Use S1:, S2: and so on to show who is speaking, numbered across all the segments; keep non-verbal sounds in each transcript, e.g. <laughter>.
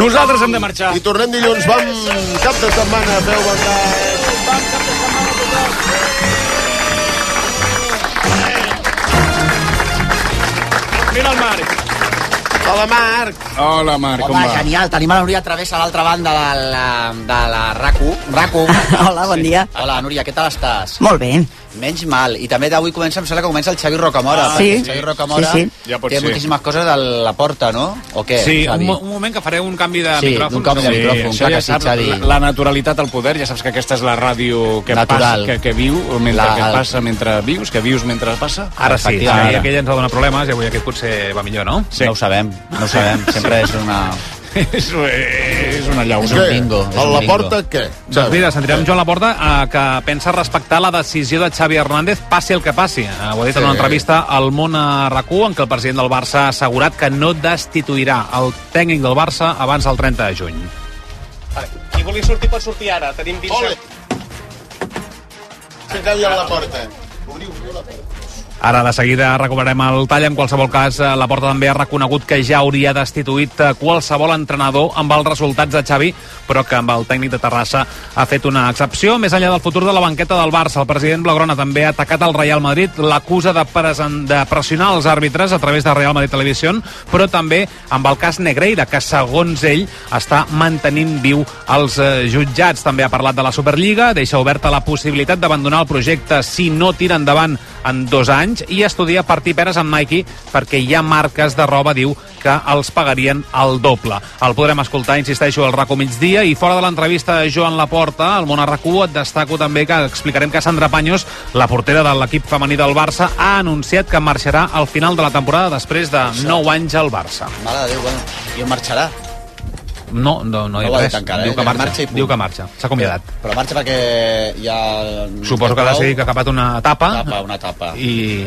S1: Nosaltres hem de marxar.
S2: I tornem dilluns. Bon cap de setmana. Feu bon cap.
S1: Mira el Marc.
S2: Hola, Marc.
S3: Hola, Marc,
S4: Home, genial, tenim a la Núria Través a l'altra banda de la, de la RACU. RACU.
S5: <laughs> Hola, bon dia.
S4: Hola, Núria, què tal estàs?
S5: Molt bé.
S4: Menys mal. I també d'avui comença, em sembla que comença el Xavi Rocamora.
S5: Ah,
S4: perquè
S5: sí.
S4: El Xavi Rocamora
S5: Sí,
S3: sí. Ja pot
S4: té
S3: ser.
S4: moltíssimes coses a la porta, no? O què,
S3: Sí, un,
S4: Xavi?
S3: mo- un moment que fareu un canvi de
S4: Sí,
S3: micròfon.
S4: un canvi de micròfon,
S3: això
S4: clar
S3: ja
S4: que sí,
S3: saps,
S4: Xavi.
S3: la, la naturalitat al poder, ja saps que aquesta és la ràdio que
S4: Natural.
S3: passa, que, que viu, mentre
S4: La-
S3: que passa mentre vius, que vius mentre passa.
S6: Ara sí, sí
S4: Efectivament.
S6: aquella ens va donar problemes i avui aquest potser va millor, no?
S3: Sí.
S4: No ho sabem, no ho sabem. Sempre és una...
S6: <laughs>
S3: és, és una
S4: És
S3: llauna.
S4: un
S2: Què?
S4: bingo, és
S2: A
S4: un
S2: la
S4: bingo.
S2: porta, què?
S6: Doncs mira, sentirem Joan Laporta eh, que pensa respectar la decisió de Xavi Hernández passi el que passi. Eh, ho ha dit en una
S2: Sí.
S6: entrevista al Món a RAC1 en què el president del Barça ha assegurat que no destituirà el tècnic del Barça abans del 30 de juny.
S1: Qui vulgui sortir pot sortir ara. Tenim 20
S2: Ole. Fica-li a la porta.
S6: Ara de seguida recuperarem el tall. En qualsevol cas, eh, la porta també ha reconegut que ja hauria destituït eh, qualsevol entrenador amb els resultats de Xavi, però que amb el tècnic de Terrassa ha fet una excepció. Més enllà del futur de la banqueta del Barça, el president Blaugrana també ha atacat al Real Madrid, l'acusa de, presen- de pressionar els àrbitres a través de Real Madrid Televisió, però també amb el cas Negreira, que segons ell està mantenint viu els eh, jutjats. També ha parlat de la Superliga, deixa oberta la possibilitat d'abandonar el projecte si no tira endavant en dos anys i estudia partir peres amb Nike perquè hi ha marques de roba, diu, que els pagarien el doble. El podrem escoltar, insisteixo, al RACO migdia i fora de l'entrevista de Joan Laporta, al Món RACO, et destaco també que explicarem que Sandra Panyos, la portera de l'equip femení del Barça, ha anunciat que marxarà al final de la temporada després de 9 anys al Barça.
S4: Mare de Déu, bueno, i on marxarà?
S6: No, no, no hi
S4: No ho
S6: ha
S4: ha
S6: res.
S4: dit encara,
S6: diu,
S4: eh?
S6: que marxa,
S4: Marxa i punt.
S6: diu que marxa. S'ha acomiadat.
S4: Però marxa perquè ja...
S6: Suposo que ha decidit que ha acabat una etapa,
S4: Tapa, una tapa.
S6: i,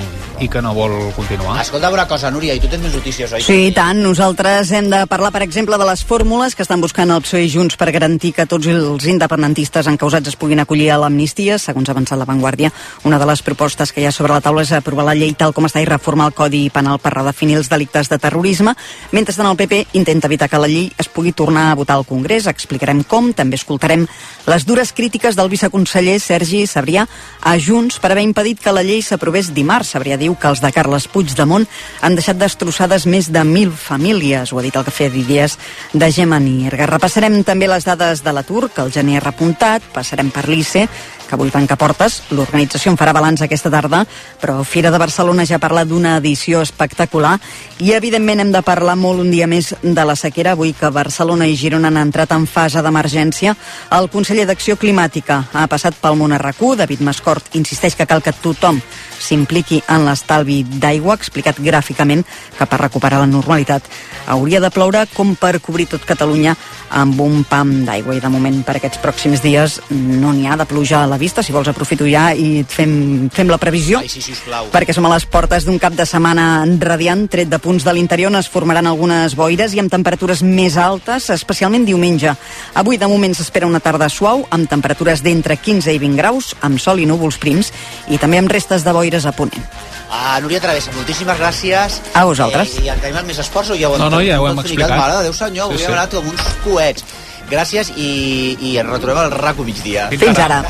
S6: i que no vol continuar.
S4: Escolta una cosa, Núria, i tu tens més notícies, oi?
S5: Sí, i tant. Nosaltres hem de parlar, per exemple, de les fórmules que estan buscant el PSOE i Junts per garantir que tots els independentistes encausats es puguin acollir a l'amnistia. Segons ha avançat la Vanguardia, una de les propostes que hi ha sobre la taula és aprovar la llei tal com està i reformar el Codi Penal per redefinir els delictes de terrorisme. Mentrestant, el PP intenta evitar que la llei es pugui tornar a votar al Congrés. Explicarem com. També escoltarem les dures crítiques del viceconseller Sergi Sabrià a Junts per haver impedit que la llei s'aprovés dimarts. Sabrià diu que els de Carles Puigdemont han deixat destrossades més de 1.000 famílies, ho ha dit el cafè d'Idees de Gemma Nierga. Repassarem també les dades de l'atur, que el gener ha repuntat, passarem per l'ICE, que avui tanca portes. L'organització en farà balanç aquesta tarda, però Fira de Barcelona ja parla d'una edició espectacular i, evidentment, hem de parlar molt un dia més de la sequera, avui que Barcelona i Girona han entrat en fase d'emergència. El conseller d'Acció Climàtica ha passat pel món RAC1, David Mascort insisteix que cal que tothom s'impliqui en l'estalvi d'aigua, ha explicat gràficament que per recuperar la normalitat hauria de ploure com per cobrir tot Catalunya amb un pam d'aigua i de moment per aquests pròxims dies no n'hi ha de pluja a la vista, si vols aprofito ja i et fem, fem la previsió
S4: Ai, sí, sisplau.
S5: perquè som a les portes d'un cap de setmana radiant, tret de punts de l'interior on es formaran algunes boires i amb temperatures més altes, especialment diumenge. Avui, de moment, s'espera una tarda suau, amb temperatures d'entre 15 i 20 graus, amb sol i núvols prims, i també amb restes de boires a ponent.
S4: Ah, Núria Travessa, moltíssetes gràcies.
S5: A vosaltres.
S4: Eh, I tenim més esports o ja ho hem
S6: No, no, ja ho hem
S4: tot
S6: explicat.
S4: ficat? Mare de Déu, senyor,
S6: Sí,
S4: avui
S6: sí.
S4: hem anat com uns coets. Gràcies i, i ens retrobem al RACO migdia.
S5: Fins ara.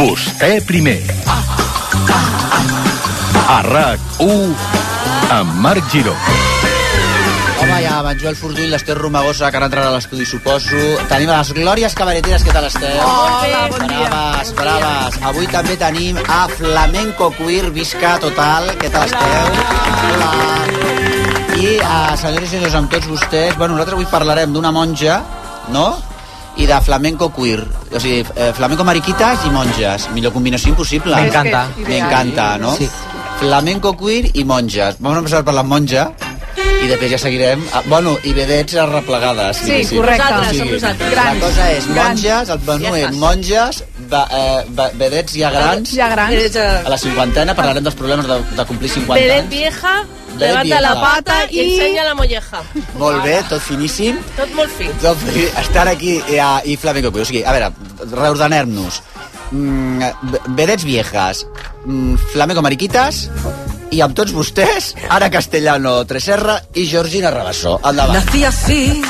S7: Vostè eh, primer. A RAC1 amb Marc Giró.
S4: Home, hi ha en Joel Fortuny, l'Ester Romagosa, que ara entrarà a l'estudi, suposo. Tenim a les Glòries Cabareteres, què tal esteu? Hola, bon dia. Braves, braves. Avui també tenim a Flamenco Queer, visca total, què tal esteu? Hola. I, uh, senyores i senyors, amb tots vostès, bueno, nosaltres avui parlarem d'una monja, no?, i de flamenco queer. O sigui, eh, flamenco mariquites i monges. Millor combinació impossible.
S8: M'encanta.
S4: M'encanta, no? Sí. Flamenco queer i monges. Vam empezar per la monja i després ja seguirem... A, bueno, i vedets arreplegades.
S8: Sí,
S4: diguéssim.
S8: correcte. Nosaltres,
S4: O sigui,
S8: som nosaltres.
S4: La cosa és
S8: Grans.
S4: monges, el menú
S8: Ja
S4: és
S8: està.
S4: monges, va, eh, va, vedets ja grans. eh,
S8: Ja eh, grans.
S4: A la cinquantena parlarem dels problemes de, de complir 50
S8: Vedet
S4: anys.
S8: vieja,
S4: bé,
S8: Levanta la
S4: vieja.
S8: pata i,
S9: I-
S8: ensenya la molleja.
S4: Molt bé, tot finíssim.
S8: Tot molt fi.
S4: Tot fi, Doncs, estar aquí i, a- i Flamenco Cuy. O sigui, a veure, reordenem-nos. Mm, ve- vedets viejas, mm, flamenco mariquitas, i amb tots vostès, Ara Castellano Treserra i Georgina Rabassó. Endavant.
S10: Nací así,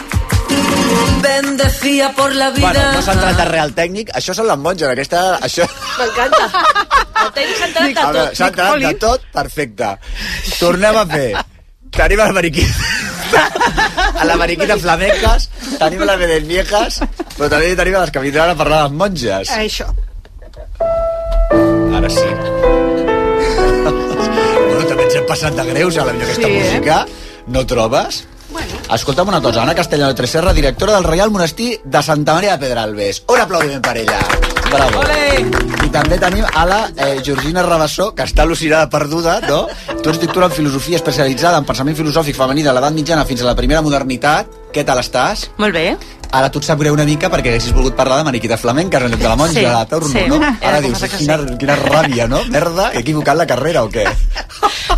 S10: bendecía por la vida.
S4: Bueno, no s'ha entrat a Real Tècnic, això són les monges, aquesta... Això... <laughs>
S8: M'encanta. El tècnic s'ha entrat
S4: A
S8: de
S4: veure,
S8: tot.
S4: S'ha entrat de tot, perfecte. Tornem a fer. Tenim a la mariquita. A la mariquita flamenques, tenim les vedes viejas, però també tenim a les que vindran a parlar de les monges.
S9: Això.
S4: Ara sí. bueno, també ens hem passat de greus a la millor aquesta
S9: Sí, eh?
S4: música. No trobes? Bueno. Escolta'm una cosa, Anna Castellano Treserra, directora del Reial Monestir de Santa Maria de Pedralbes. Un aplaudiment per ella. Bravo. I també tenim a la eh, Georgina Rabassó, que està al·lucinada perduda, no? Tu ets doctora en filosofia especialitzada en pensament filosòfic femení de l'edat mitjana fins a la primera modernitat. Què tal estàs?
S9: Molt bé.
S4: Ara tu et sap greu una mica perquè haguessis volgut parlar de mariquita flamenca en lloc de la monja,
S9: Sí,
S4: sí, torno,
S9: sí.
S4: no?
S9: Era
S4: Ara
S9: com
S4: dius,
S9: passa que
S4: quina,
S9: sí.
S4: quina ràbia, no? Merda, he equivocat la carrera o què?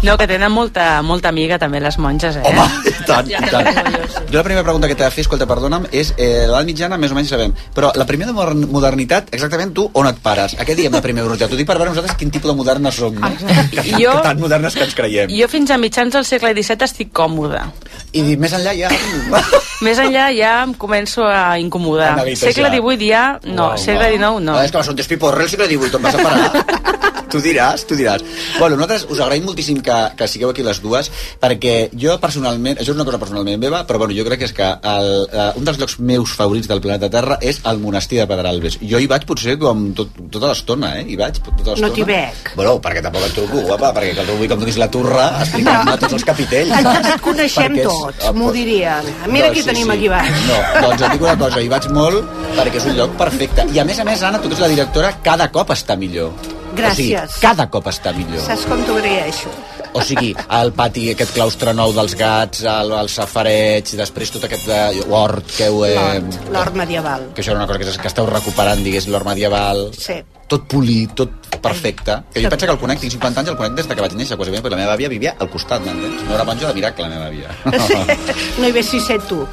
S9: No, que tenen molta, molta amiga també les monges, eh?
S4: Home, i tant,
S8: Ja
S4: i
S8: te
S4: tant.
S8: la tinc jo, sí.
S4: Jo la primera pregunta que t'he de fer, escolta, perdona'm, és eh, l'edat mitjana més o menys sabem, però la primera modern- modernitat, exactament tu on et pares? A què diem la primera modernitat? Ho dic per veure nosaltres quin tipus de modernes som, no? Que, <laughs> tan-
S9: Jo-
S4: que tan modernes que ens creiem.
S9: Jo fins a mitjans del segle XVII estic còmoda.
S4: I dic, més enllà ja...
S9: <laughs> Més enllà ja em començo a incomodar.
S4: A neguitejar.
S9: Segle XVIII ja... No,
S4: Uau,
S9: segle XIX no.
S4: Ah, és que va ser un despiporre el segle XVIII, on vas
S9: <laughs>
S4: a parar. tu diràs, tu diràs. Bueno, nosaltres us agraïm moltíssim que, que sigueu aquí les dues, perquè jo personalment, això és una cosa personalment meva, però bueno, jo crec que és que el, eh, un dels llocs meus favorits del planeta Terra és el monestir de Pedralbes. Jo hi vaig potser com tot, tota l'estona, eh? Hi vaig tota l'estona.
S9: No t'hi veig.
S4: Bueno, perquè tampoc et truco, guapa, perquè que el vull que em donis la turra explicant-me tots els capitells.
S9: Ens
S4: et
S9: coneixem tots,
S4: Ah,
S9: m'ho dirien. Mira qui tenim aquí baix.
S4: Doncs No, doncs et dic una cosa, hi vaig molt perquè és un lloc perfecte. I a més a més, Anna, tu que ets la directora, cada cop està millor. O
S9: Gràcies.
S4: sigui, cada cop està millor.
S9: Saps com t'ho agraeixo?
S4: O sigui, el pati, aquest claustre nou dels gats, el, el safareig, després tot aquest eh, hort que heu... Eh,
S9: l'hort medieval.
S4: <laughs> que això era una cosa que, que esteu recuperant, digués, l'hort medieval.
S9: Sí.
S4: Tot polit, tot perfecte. Que jo penso que el conec, tinc 50 anys, el conec des de que vaig néixer, quasi bé, perquè la meva àvia vivia al costat, m'entens? No era monja de miracle, la meva àvia.
S9: No hi ve si set tu.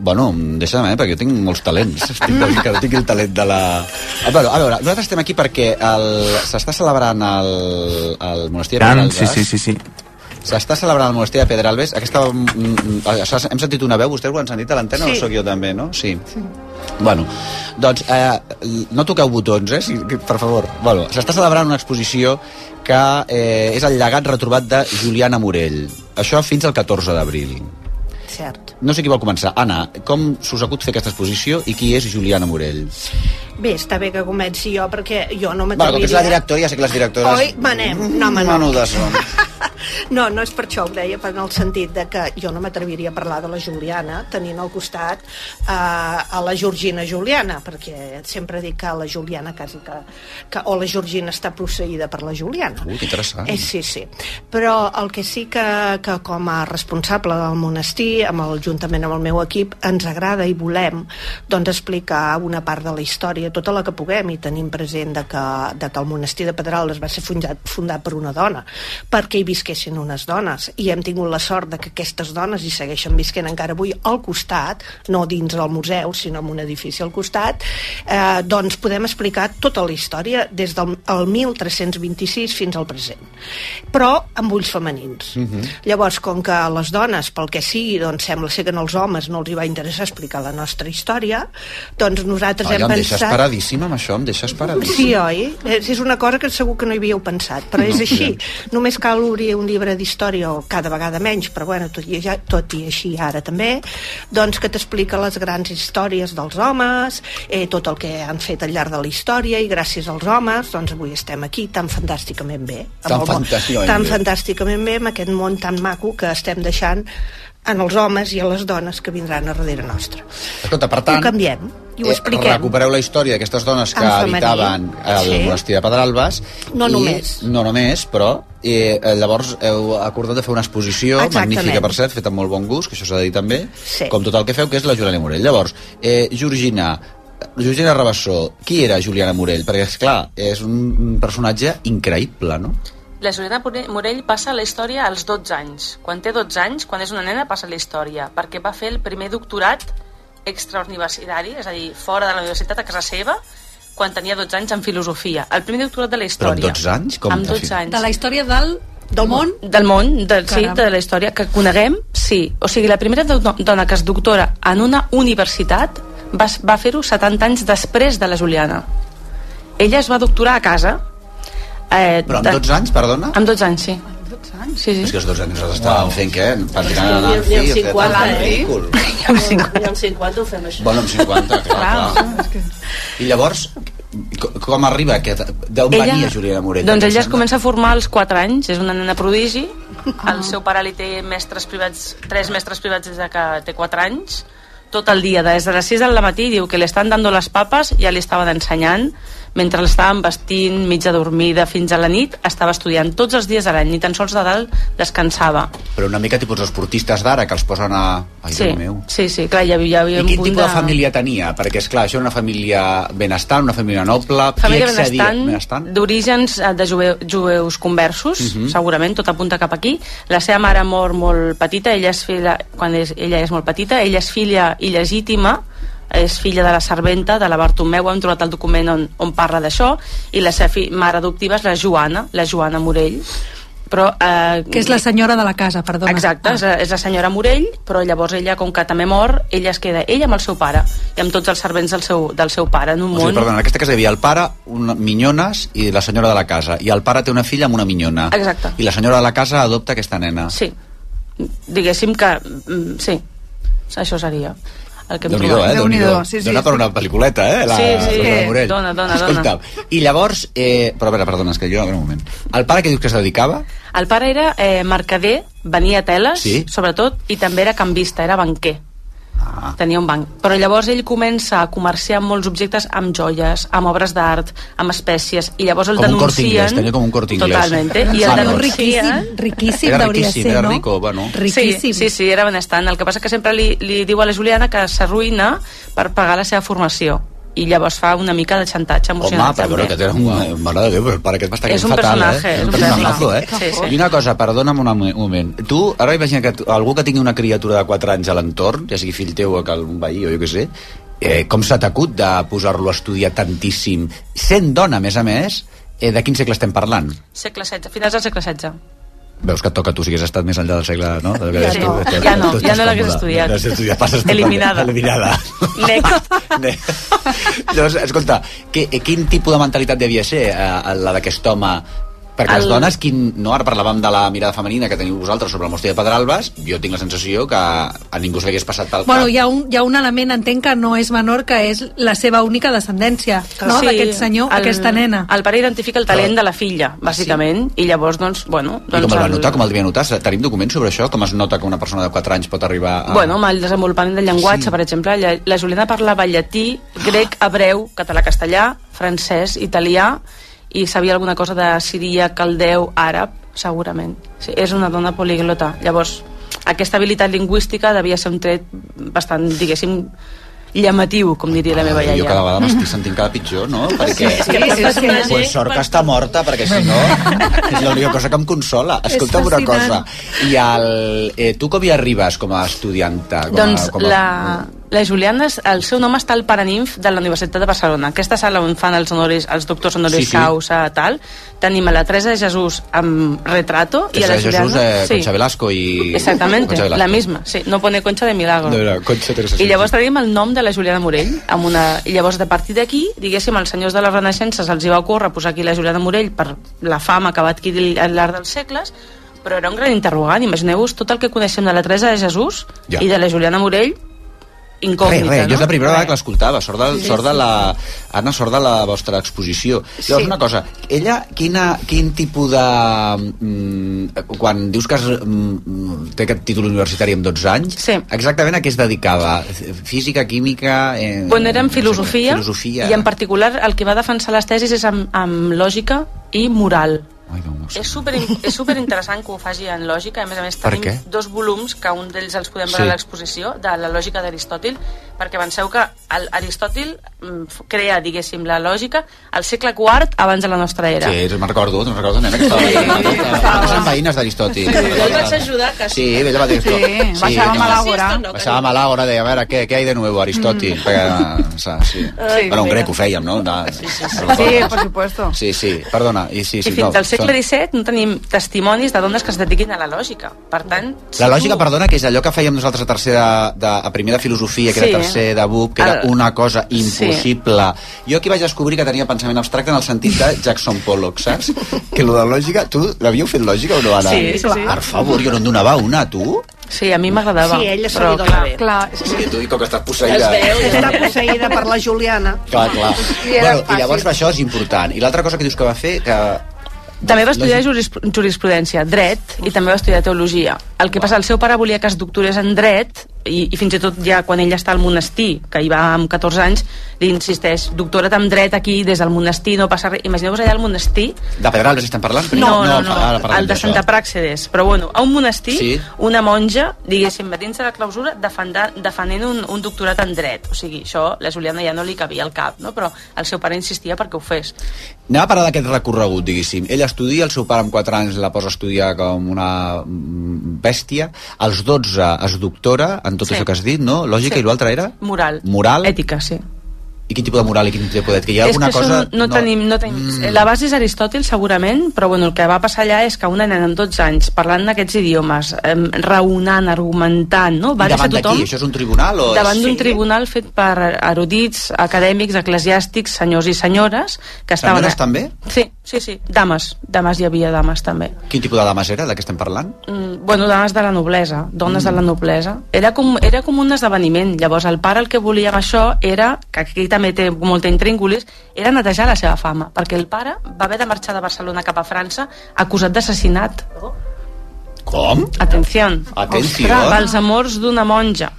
S4: Bueno, deixa'm, eh, perquè jo tinc molts
S11: <laughs>
S4: talents. Estic de que no tinc el talent de la... Ah, bueno, a veure, nosaltres estem aquí perquè el- s'està celebrant el, el monestir de Pedralbes.
S11: Sí, sí, sí, sí.
S4: S'està celebrant el monestir de Pedralbes. Aquesta, mm, mm, això, hem sentit una veu, vostès ho han sentit a l'antena,
S9: Sí.
S4: o sóc jo també, no? Sí. sí. Bueno, doncs eh, no toqueu botons, eh, si, per favor. Bueno, s'està celebrant una exposició que eh, és el llegat retrobat de Juliana Morell. Això fins al 14 d'abril.
S9: Cert.
S4: No sé qui vol començar. Anna, com s'us acut fer aquesta exposició i qui és Juliana Morell?
S9: Bé, està bé que comenci jo, perquè jo no
S4: Bueno, com que ets la directora, doncs- ja sé que les directores...
S9: Oi, manem. No, home, no.
S4: Menudes són.
S9: No, no és per això, ho deia, però en el sentit de que jo no m'atreviria a parlar de la Juliana tenint al costat eh, a la Georgina Juliana, perquè sempre dic que la Juliana quasi que, que o la Georgina està posseïda per la Juliana.
S4: Ui, que interessant.
S9: Eh, sí, sí. Però el que sí que, que com a responsable del monestir, amb el, juntament amb el meu equip, ens agrada i volem doncs, explicar una part de la història, tota la que puguem, i tenim present de que, de que el monestir de Pedrales va ser fundat, fundat per una dona, perquè hi visquessin unes dones, i hem tingut la sort de que aquestes dones hi segueixen visquent encara avui al costat, no dins del museu, sinó en un edifici al costat, eh, doncs podem explicar tota la història des del el 1326 fins al present, però amb ulls femenins. Llavors, com que a les dones, pel que sigui, doncs sembla ser que als homes no els hi va interessar explicar la nostra història, doncs nosaltres
S4: Ai,
S9: hem
S4: em deixes
S9: pensat...
S4: paradíssima amb això, em deixes
S9: Sí,
S4: paradíssima.
S9: oi? És és una cosa que segur que no hi havíeu pensat, però és així. Només cal obrir un llibre d'història, o cada vegada menys, però bueno, tot i, ja, tot i així ara també, doncs que t'explica les grans històries dels homes, eh, tot el que han fet al llarg de la història, i gràcies als homes, doncs avui estem aquí tan fantàsticament bé. amb
S4: Tan
S9: el món-
S4: fantàsticament
S9: tan
S4: bé.
S9: fantàsticament bé, amb aquest món tan maco que estem deixant en els homes i a les dones que vindran a darrere nostra.
S4: Escolta, per
S9: Ho
S4: tant...
S9: canviem i ho
S4: eh,
S9: expliquem.
S4: Recupereu la història d'aquestes dones que
S9: En femení.
S4: habitaven el
S9: Ah, Sí.
S4: monestir de Pedralbes.
S9: No
S4: i,
S9: només.
S4: No només, però eh, eh, llavors heu acordat de fer una exposició
S9: Exactament.
S4: magnífica, per cert, feta amb molt bon gust, que això s'ha de dir també,
S9: Sí.
S4: com tot el que feu, que és la Juliana Morell. Llavors, eh, Georgina, Georgina Rabassó, qui era Juliana Morell? Perquè, és clar és un un personatge increïble, no?
S10: La Juliana Pore- Morell passa la història als 12 anys. Quan té 12 anys, quan és una nena, passa la història, perquè va fer el primer doctorat extrauniversitari, és a dir, fora de la universitat, a casa seva, quan tenia 12 anys en filosofia. El primer doctorat de la
S4: Però amb
S10: història.
S4: 12 anys? Com
S10: amb
S4: que
S10: 12
S4: fi-
S10: anys.
S11: De la història del, del món?
S10: Del món, de, sí,
S11: Caram.
S10: de la història que coneguem, sí. O sigui, la primera do- dona que es doctora en una universitat va, s- va fer-ho 70 anys després de la Juliana. Ella es va doctorar a casa. Eh,
S4: Però amb 12 anys, perdona?
S10: Amb 12 anys, sí. Sí, sí.
S4: És que els 12 anys nosaltres estàvem fent què? Practicant anar
S8: Ni-
S4: al
S8: ni amb
S4: fi, fet
S8: 50,
S4: el
S8: eh?
S4: ridícul.
S8: Amb 50. Amb 50 ho fem això.
S4: Bueno, amb 50, clar, clar. I llavors, co- com arriba aquest... D'on venia Juliana Morell?
S10: Doncs ella es comença a formar als 4 anys, és una nena prodigi.
S11: Ah.
S10: El seu pare li té mestres privats, tres mestres privats des de que té 4 anys, tot el dia, des de les 6 del matí, diu que li estan dando les papes, ja li estaven ensenyant, mentre l'estaven vestint, mitja dormida, fins a la nit, estava estudiant tots els dies de l'any, ni tan sols de dalt descansava.
S4: Però una mica tipus esportistes d'ara, que els posen a... Ai,
S10: sí,
S4: Déu meu.
S10: sí, sí, clar, ja hi havia
S4: I
S10: un
S4: quin
S10: punt
S4: tipus de... família tenia? Perquè, és clar, això era una família benestant, una família noble... qui
S10: Família
S4: accedia-
S10: benestant,
S4: benestant?
S10: d'orígens eh, de jove, jueus conversos,
S4: Mhm.
S10: segurament, tot apunta cap aquí. La seva mare mor molt petita, ella és filla, quan és, ella és molt petita, ella és filla il·legítima, és filla de la serventa, de la Bartomeu, hem trobat el document on, on parla d'això, i la seva fi, mare adoptiva és la Joana, la Joana Morell, però... Eh,
S11: Que és la senyora de la casa, perdona. Ah.
S10: Exacte, és, és la senyora Morell, però llavors ella, com que també mor, ella es queda ella amb el seu pare i amb tots els servents del seu, del seu pare, en un
S4: O sigui,
S10: món...
S4: perdona, en aquesta casa hi havia el pare, una, minyones i la senyora de la casa. I el pare té una filla amb una minyona.
S10: Exacte.
S4: I la senyora de la casa adopta aquesta nena.
S10: Sí. Diguéssim que... mm, Sí. Això seria el que hem
S4: Déu-n'hi-do,
S10: trobat.
S4: eh? Déu-n'hi-do. Sí, sí, dona per una pel·liculeta, eh? La,
S10: Sí, sí.
S4: la Lola
S10: Eh,
S4: Morell.
S10: dona, dona, dona.
S4: Escolta'm, I llavors... Eh, però a veure, perdona, és que jo... A veure, un moment. El pare que dius que es dedicava?
S10: El pare era eh, mercader, venia teles,
S4: Sí.
S10: sobretot, i també era canvista, era banquer. Ah. Tenia un banc. Però llavors ell comença a comerciar amb molts objectes, amb joies, amb obres d'art, amb espècies, i llavors el
S4: Com un
S10: denuncien...
S4: Corte Inglés, tenia com un Corte Inglés.
S10: Totalment. I
S4: Ah,
S10: el denuncien...
S4: no.
S11: Riquíssim, riquíssim
S4: era
S11: hauria de
S4: riquíssim,
S11: ser,
S4: era
S11: no?
S4: rico, bueno.
S11: Riquíssim.
S10: Sí, sí, sí, era benestant. El que passa que sempre li, li diu a la Juliana que s'arruïna per pagar la seva formació i llavors fa una mica de xantatge
S4: Home,
S10: emocional.
S4: però bueno,
S10: també.
S4: que té un... eh, Mare de Déu, però el pare aquest m'està
S10: És
S4: quedant
S10: un
S4: fatal,
S10: personatge,
S4: eh?
S10: és un
S4: personazo, eh?
S10: personatge. Sí, sí.
S4: I una cosa, perdona'm un mo- moment. Tu, ara imagina que tu, algú que tingui una criatura de 4 anys a l'entorn, ja sigui fill teu o que un veí o jo què sé, eh, com s'ha t'acut de posar-lo a estudiar tantíssim? Sent dona, a més a més, eh, de quin segle estem parlant?
S10: Segle
S4: eh,
S10: XVI, finals del segle XVI.
S4: Veus que et toca a tu, si hagués estat més enllà del segle... No? Del que
S10: Ja
S4: deies
S10: no,
S4: tu,
S10: ja no,
S4: tu
S10: ja no
S4: estàs
S10: l'hagués
S4: còmoda.
S10: estudiat.
S4: No l'hagués estudiat, passes totalment
S10: Eliminada.
S4: Eliminada.
S10: Next.
S4: Llavors, escolta, que, eh, quin tipus de mentalitat devia ser eh, la d'aquest home perquè el... les
S10: El-
S4: dones, quin... no, ara parlàvem de la mirada femenina que teniu vosaltres sobre el mostre de Pedralbes, jo tinc la sensació que a ningú se li hagués passat tal
S11: Bueno, hi ha, un, hi ha un element, entenc, que no és menor, que és la seva única descendència, no? d'aquest senyor,
S10: el-
S11: aquesta nena.
S10: El pare identifica el talent de la filla, bàsicament, i llavors, doncs, bueno...
S4: I
S10: Doncs
S4: com el va notar, com el devia notar? Tenim documents sobre això? Com es nota que una persona de 4 anys pot arribar a...
S10: Bueno, amb el desenvolupament del llenguatge,
S4: Ah.
S10: sí.
S4: Sí.
S10: per exemple, la, la Juliana parlava llatí, grec, hebreu, català-castellà, francès, italià, i sabia alguna cosa de siria, caldeu, àrab, segurament. Sí, és una dona poliglota. Llavors, aquesta habilitat lingüística devia ser un tret bastant, diguéssim, llamatiu, com diria la meva iaia.
S4: Ah, Jo cada vegada m'estic sentint cada pitjor, no? Perquè...
S10: és que per
S11: Sí, sí, sí.
S10: personatge-
S4: Pues sort que està morta, perquè si no és l'única cosa que em consola.
S11: És
S4: Escolta'm una cosa,
S11: fascinant.
S4: i el, eh, tu com hi arribes com a estudianta? Com
S10: Doncs
S4: a, com a...
S10: la, la Juliana, és- el seu nom està al Paraninf de la Universitat de Barcelona. Aquesta sala on fan els, honoris, els doctors honoris
S4: Sí,
S10: sí,
S4: sí.
S10: sí. causa, tal. Tenim a la Teresa de Jesús amb retrato
S4: Que
S10: i a la
S4: serà
S10: Juliana...
S4: Jesús, eh, Concha Velasco i...
S10: Exactamente,
S4: Concha Velasco.
S10: la misma. Sí, no pone Concha de Milagro.
S4: No, era Concha
S10: I
S4: Teresa Sánchez.
S10: llavors tenim el nom de la Juliana Morell. Amb una... I llavors, a partir d'aquí, diguéssim, als senyors de les Renaixences els hi va ocórrer posar aquí la Juliana Morell per la fama que va adquirir al llarg dels segles, però era un gran interrogant. Imagineu-vos tot el que coneixem de la Teresa de Jesús
S4: Ja.
S10: ja. i de la Juliana Morell
S4: Res,
S10: incògnita,
S4: res,
S10: no?
S4: jo és la primera vegada que l'escoltava, sort, del, sort de la... Anna, sort de la vostra exposició. Llavors,
S9: Sí.
S4: una cosa, ella, quina, quin tipus de... Mm, quan dius que es, mm, té aquest títol universitari amb 12 anys,
S10: Sí.
S4: exactament a què es dedicava? Física, química... Eh,
S10: Bueno, era en
S4: no sé,
S10: filosofia,
S4: filosofia.
S10: i en particular el que va defensar les tesis és amb, amb lògica i moral.
S4: Ai, Déu meu.
S7: Explica-nos.
S10: És super, és super interessant que ho faci en lògica. A més a més,
S7: Per
S10: tenim
S7: què?
S10: dos volums que un d'ells els podem veure
S7: Sí.
S10: a l'exposició, de la lògica d'Aristòtil, perquè penseu que el- Aristòtil mm, f- crea, diguéssim, la lògica al segle IV abans de la nostra era.
S4: Sí, me'n recordo, me'n recordo, nena, que estava... Sí, Són veïnes d'Aristòtil.
S10: Jo el vaig ajudar, que
S4: Sí, ell va dir esto.
S12: Sí, baixava
S4: no.
S12: mal agora.
S4: Passava mal l'hora, deia, a veure, què, què hi ha de nou, Aristòtil? Mm. Perquè, sa, sí.
S12: Ai,
S4: bueno, un
S12: mira.
S4: grec ho fèiem, no? De, sí, sí,
S12: Sí, por supuesto.
S4: sí, sí, perdona. I, sí,
S10: I
S4: sí,
S10: fins
S4: no,
S10: al segle
S4: són-
S10: XVII no tenim testimonis de dones que es dediquin a la lògica. Per tant, si
S4: La lògica,
S10: tu-
S4: perdona, que és allò que fèiem nosaltres a tercer de, de, a primer de filosofia, que
S10: Sí.
S4: era tercer de BUP, que era
S10: El-
S4: una cosa
S10: Sí.
S4: impossible. Jo aquí vaig descobrir que tenia pensament abstracte en el sentit de Jackson Pollock, saps? Que lo de lògica... Tu l'havíeu fet lògica o no, Anna?
S10: Sí, sí, sí.
S4: Per favor, jo no em donava una, tu?
S10: Sí, a mi m'agradava.
S9: Sí, ella se
S10: però,
S9: li dona
S10: clar,
S9: bé.
S12: Clar,
S4: Sí, tu, i com que estàs posseïda...
S9: Està posseïda per la Juliana.
S4: Clar, clar.
S9: I era
S4: bueno, I llavors
S9: fàcil.
S4: això és important. I l'altra cosa que dius que va fer, que...
S10: També va estudiar juris- jurisprudència, dret, i també va estudiar teologia. El que passa, el seu pare volia que es doctorés en dret, i, i fins i tot ja quan ell està al monestir, que hi va amb 14 anys, li insisteix, doctora't en dret aquí, des del monestir, no passa res. Imagineu-vos allà al monestir...
S4: De Pedralbes estan parlant?
S10: No, no, no,
S4: ara parlem
S10: el de
S4: d'això.
S10: Santa Pràxedes. Però bueno, a un monestir,
S4: Sí.
S10: una monja, diguéssim, dins de la clausura, defendant, defendent un, un doctorat en dret. O sigui, això la Juliana ja no li cabia al cap, no? però el seu pare insistia perquè ho fes.
S4: Anem a parlar d'aquest recorregut, diguéssim. Ell estudia, el seu pare amb 4 anys la posa a estudiar com una mm, bèstia, als 12 es doctora en tot
S10: Sí.
S4: sí. això que has dit, no? Lògica,
S10: Sí.
S4: sí. i l'altre era?
S10: Moral.
S4: Moral.
S10: Ètica, sí.
S4: I quin tipus de moral i quin tipus d'ètica? Hi ha
S10: és
S4: alguna
S10: que això
S4: cosa... Mm.
S10: no, no, tenim... No tenim La base és Aristòtil, segurament, però bueno, el que va passar allà és que una nena amb 12 anys, parlant d'aquests idiomes, eh, raonant, argumentant, no? va
S4: I davant
S10: deixar tothom
S4: d'aquí, això és un tribunal? O
S10: davant d'un
S4: Sí.
S10: tribunal fet per erudits, acadèmics, eclesiàstics, senyors i senyores, que estaven...
S4: Senyores també?
S10: Sí, sí, sí, dames. Dames, hi havia dames també.
S4: Quin tipus de dames era, de què estem parlant?
S10: Mm, bueno, dones de la noblesa, dones
S4: Mm.
S10: de la noblesa. Era com, era com un esdeveniment. Llavors, el pare el que volia amb això era, que aquí també té molta intríngulis, era netejar la seva fama, perquè el pare va haver de marxar de Barcelona cap a França acusat d'assassinat.
S4: Com?
S10: Atenció.
S4: Atenció.
S10: Pels amors d'una monja.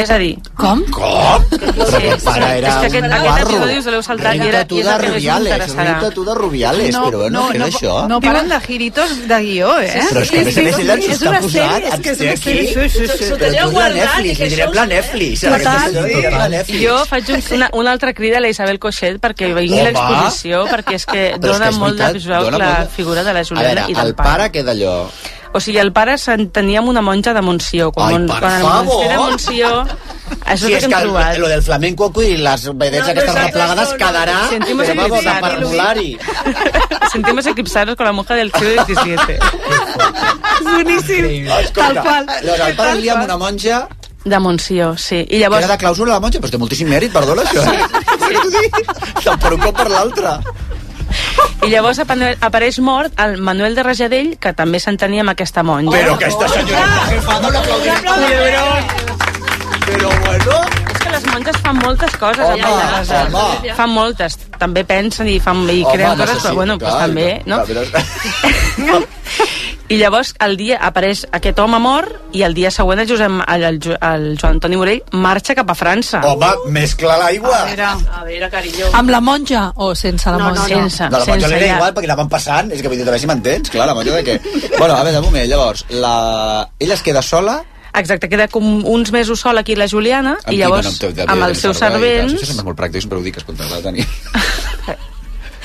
S10: És a dir... Com?
S4: Com?
S10: Però
S4: Però el pare era
S10: és que
S4: un
S10: aquest, aquest
S4: guarro.
S10: episodi us l'heu saltat i, era,
S4: Rita tu
S10: i és
S4: de
S10: el que més
S4: Rubiales,
S10: m'interessarà.
S4: Rita tu de Rubiales, però bueno, què era això?
S12: No paren de giritos de guió, eh?
S4: Sí, però és que a més a més ella ens ho
S12: És
S4: està
S12: una
S4: posant,
S12: sèrie, és que és una
S4: ens té
S12: sèrie.
S4: aquí. Però tu és la Netflix, li direm la Netflix. a aquesta
S10: Total,
S4: senyora li direm la Netflix.
S10: jo faig un, una, una altra crida a la Isabel Coixet perquè vingui a
S4: Home.
S10: l'exposició, perquè és que
S4: Però és
S10: dona
S4: que és
S10: molt
S4: veritat,
S10: de visual
S4: dona
S10: la
S4: molt de-
S10: figura de la
S4: A
S10: Juliana
S4: veure,
S10: i del
S4: el pare que d'allò...
S10: O sigui, el pare s'entenia amb una monja de Montsió. Quan,
S4: Ai,
S10: mon-
S4: per
S10: quan el
S4: favor.
S10: monestir de Montsió... Això
S4: Si
S10: és el
S4: és
S10: que
S4: que
S10: hem trobat.
S4: el, lo del flamenco i les vedets
S10: No,
S4: aquestes
S10: nosaltres
S4: replegades
S10: no, no.
S4: quedarà
S10: Sentimos
S4: però, vamos, de
S10: el Luis.
S4: parvulari.
S10: <laughs> Sentimos eclipsados con la monja del siglo XVII.
S12: Boníssim.
S4: Escolta, llavors, el pare lia amb una monja
S10: De Montsió, sí. I
S4: que
S10: llavors...
S4: era de clàusula de monja, però té moltíssim mèrit, perdona, això. <laughs> Sí. Tant per un cop per l'altre.
S10: I llavors apa- apareix mort el Manuel de Rajadell, que també s'entenia amb aquesta monja.
S4: Però aquesta senyora està jefada, un aplaudiment. Però bueno...
S10: És que les monges fan moltes coses
S4: Home,
S10: amb el Gaza.
S4: home.
S10: Fan moltes. També pensen i, fan, i creen coses,
S4: Home, necessito,
S10: però bueno,
S4: clar,
S10: pues, també... No? <laughs> I llavors el dia apareix aquest home mort i el dia següent el, Josep, el, el, Jo- el Joan Antoni Morell marxa cap a França.
S4: Home, mescla l'aigua.
S8: A veure, carinyo.
S11: Amb la monja o sense la
S10: No, no,
S11: monja?
S10: no. Sense.
S4: No, la monja
S10: sense
S4: l'era
S10: ja.
S4: igual perquè la van passant, és que vull dir, a veure si m'entens, clar, la monja de què... Bueno, a veure, un moment, llavors, la... ella es queda sola...
S10: Exacte, queda com uns mesos sol aquí la Juliana i
S4: qui?
S10: llavors
S4: Bueno, te-
S10: amb
S4: havia de
S10: els
S4: tenir
S10: seus
S4: servei i tal. Això
S10: servents...
S4: sempre és molt pràctic, sempre ho dic, escolta, l'ha de tenir.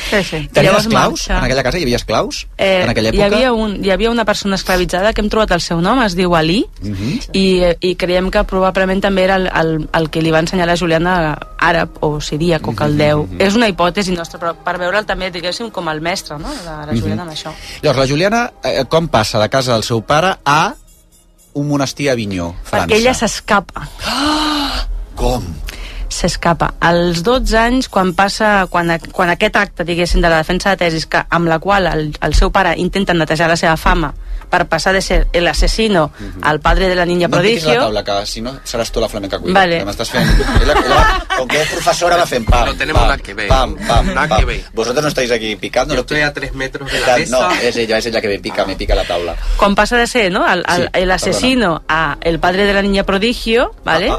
S10: Sí, sí. I
S4: Tenia
S10: llavors
S4: esclaus?
S10: marxa.
S4: En aquella casa hi havia esclaus?
S10: Eh,
S4: en aquella
S10: hi,
S4: època?
S10: havia un, hi havia una persona esclavitzada que hem trobat el seu nom, es diu Ali,
S4: Mhm.
S10: i, eh, i creiem que probablement també era el, el, el que li va ensenyar la Juliana àrab o siríac o
S4: Mhm,
S10: caldeu. És una hipòtesi nostra, però per veure'l també, diguéssim, com el mestre, no?, de
S4: Mhm.
S10: la Juliana amb això.
S4: Llavors, la Juliana, eh, com passa de casa del seu pare a un monestir a Avinyó, França?
S10: Perquè ella s'escapa,
S4: Com?
S10: s'escapa. Als 12 anys, quan passa, quan, a- quan aquest acte, diguéssim, de la defensa de tesis, que, amb la qual el, el seu pare intenta netejar la seva fama per passar de ser el asesino al padre de la niña
S4: Mhm. No em piquis la
S10: prodigio...
S4: taula, que si no seràs tu la flamenca cuida.
S10: Vale.
S4: Que m'estàs fent... Ella, ella, com que és professora va fent pam,
S13: No tenemos
S4: pam,
S13: nada que ver.
S4: pam, pam,
S13: Nada
S4: pam.
S13: que ver.
S4: Vosotros no estáis aquí picando. Yo
S13: estoy a tres metros de la
S4: Tal-
S13: mesa.
S4: No, es ella, es ella que me pica, me pica la taula.
S10: Quan pasa de ser, ¿no? Al, al-
S4: Sí,
S10: el
S4: perdona. Ah,
S10: asesino a el padre de la niña prodigio, ¿vale?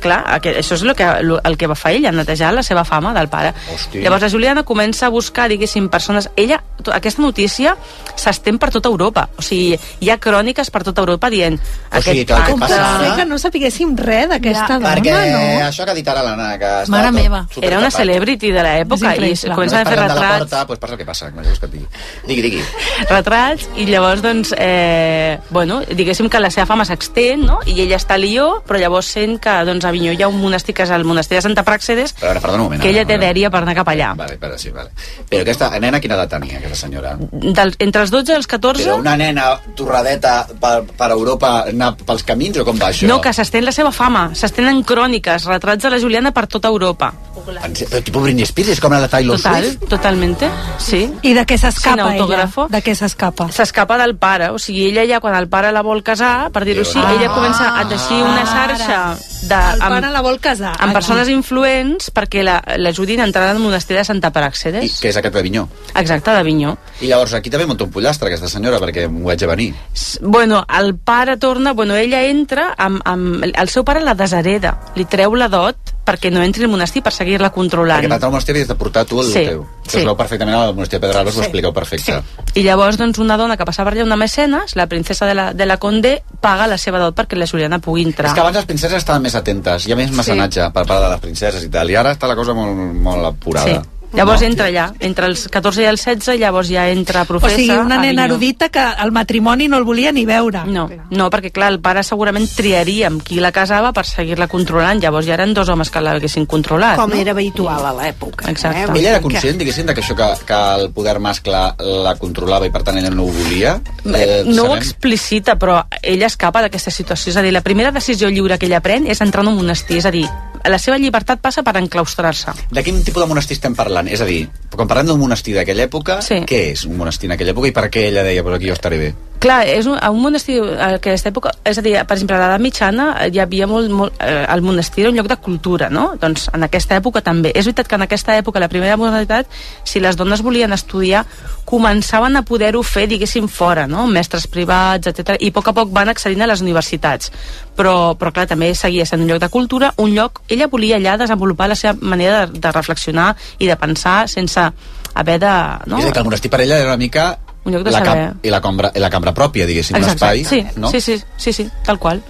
S10: clar, aquest, això és el que, lo- el que va fer ella, netejar la seva fama del pare.
S13: Hosti.
S10: Llavors la Juliana comença a buscar, diguéssim, persones... Ella, to- aquesta notícia s'estén per tota Europa. O sigui, hi ha cròniques per tota Europa dient...
S4: O sigui, clar, què
S11: Com pot
S4: passa?
S11: ser que no sapiguéssim res d'aquesta dona,
S4: Perquè
S11: no?
S4: això que ha dit ara l'Anna, que està
S11: Mare
S4: tot
S11: meva.
S4: supertapat.
S10: Era una celebrity de l'època i
S4: Només
S10: comença a fer
S4: parlen de la
S10: retrats,
S4: porta, doncs passa el que passa, com vols que et digui. Digui, digui.
S10: retrats i llavors doncs, eh, bueno, diguéssim que la seva fama s'extén no? i ella està a Lió però llavors sent que doncs, a Avinyó hi ha un monestir que és el monestir de Santa Praxedes
S4: Però, ara, perdona un moment. eh.
S10: que ella
S4: Anna,
S10: té
S4: un moment.
S10: dèria per anar cap allà
S4: Vale, vale, sí, vale. Però aquesta nena quina edat tenia, aquesta senyora?
S10: Del, entre els 12 i els 14
S4: Però una nena torradeta per, per Europa anar pels camins o com va això?
S10: no, que s'estén la seva fama s'estenen cròniques, retrats de la Juliana per tota Europa
S4: En se- Però tipo Britney Spears, és com la de Taylor
S10: Total,
S4: Swift.
S10: totalmente, sí.
S11: I de què s'escapa
S10: Sin
S11: ella?
S10: autógrafo.
S11: De què s'escapa?
S10: S'escapa del pare, o sigui, ella ja quan el pare la vol casar, per dir-ho així, ella comença a teixir una xarxa de,
S11: Ah. El
S10: amb,
S11: pare la vol casar.
S10: amb persones influents perquè la- l'ajudin a entrar al monestir de Santa Praxedes,
S4: Que és aquest d'Avinyó.
S10: exacte, d'Avinyó.
S4: I llavors aquí també munta un pollastre, aquesta senyora, perquè m'ho vaig a venir.
S10: Bueno, el pare torna, bueno, ella entra amb, amb, el seu pare la deshereda, li treu la dot perquè no entri al monestir per seguir-la controlant.
S4: Perquè t'entra al monestir i has de portar tu el
S10: Sí,
S4: teu. Això
S10: sí.
S4: es veu perfectament al monestir de Pedralos, sí. ho expliqueu perfecte. Sí.
S10: I llavors, doncs, una dona que passava per allà, una mecenes, la princesa de la, de la Condé, paga la seva dot perquè la Juliana pugui entrar.
S4: És que abans les princeses estaven més atentes, hi ha més mecenatge per part de les princeses i tal, i ara està la cosa molt, molt apurada. Sí.
S10: Llavors entra allà, entre els 14 i els 16, llavors ja entra
S11: O
S10: professa.
S11: sigui, una
S10: a
S11: nena
S10: Avinyó.
S11: erudita que el matrimoni no el volia ni veure.
S10: No, no, perquè clar, el pare segurament triaria amb qui la casava per seguir-la controlant. Llavors ja eren dos homes que l'haguessin controlat.
S9: Com
S10: no?
S9: era habitual a l'època. eh?
S10: Exacte.
S4: Ella era conscient, diguéssim, de que això que, que el poder mascle la controlava i per tant ella no ho volia? Eh,
S10: no ho
S4: sabem?
S10: explicita, però ella escapa d'aquesta situació. És a dir, la primera decisió lliure que ella pren és entrar en un monestir. És a dir, la seva llibertat passa per enclaustrar-se.
S4: De quin tipus de monestir estem parlant? És a dir, quan parlem d'un monestir d'aquella època, sí. què és un monestir en aquella època i per què ella deia, però aquí jo estaré bé?
S10: Clar, és un, un monestir a aquesta època, és a dir, per exemple, a l'edat mitjana eh, hi havia molt, molt eh, el monestir era un lloc de cultura, no? Doncs en aquesta època també. És veritat que en aquesta època, la primera modernitat, si les dones volien estudiar, començaven a poder-ho fer, diguéssim, fora, no? Amb Mestres privats, etc. i a poc a poc van accedint a les universitats. Però, però clar, també seguia sent un lloc de cultura, un lloc... Ella volia allà desenvolupar la seva manera de, de reflexionar i de pensar sense haver de...
S4: No?
S10: No?
S4: És a dir, que el monestir per ella era una mica
S10: Un lloc de
S4: la,
S10: saber.
S4: i la, cambra, i la cambra pròpia, diguéssim, un
S10: Exacte,
S4: espai,
S10: sí,
S4: no?
S10: Sí, sí, sí, sí, tal qual.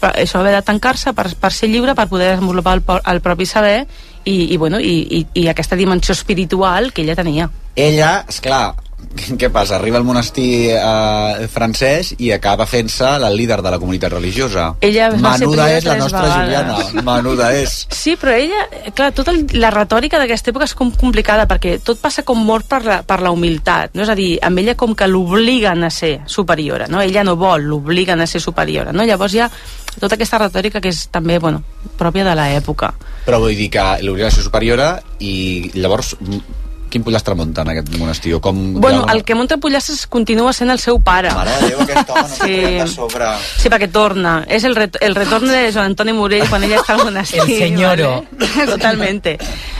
S10: Però això haver de tancar-se per, per ser lliure, per poder desenvolupar el, po- el propi saber i, i, bueno, i, i, i aquesta dimensió espiritual que ella tenia.
S4: Ella, és clar, <laughs> què passa? Arriba al monestir eh, francès i acaba fent-se la líder de la comunitat religiosa.
S10: Ella va ser
S4: Menuda
S10: primera
S4: és la
S10: tres
S4: nostra
S10: vegades.
S4: Juliana, menuda és.
S10: Sí, però ella, eh, clar, tota el- la retòrica d'aquesta època és com complicada, perquè tot passa com mort per la, per la humilitat, no? És a dir, amb ella com que l'obliguen a ser superiora, no? Ella no vol, l'obliguen a ser superiora, no? Llavors hi ha tota aquesta retòrica que és també, bueno, pròpia de l'època.
S4: Però vull dir que l'obligació superiora i llavors m- quin pollastre munta en aquest monestir? O com,
S10: Bueno,
S4: ja-
S10: el que munta Pollastres continua sent el seu pare.
S4: Mare de Déu, aquest home no s'ho treu <laughs> de sobre.
S10: Sí, perquè torna. És el, ret el retorn de Joan Antoni Morell quan ella està al monestir.
S14: El senyoro.
S10: ¿vale? Totalmente.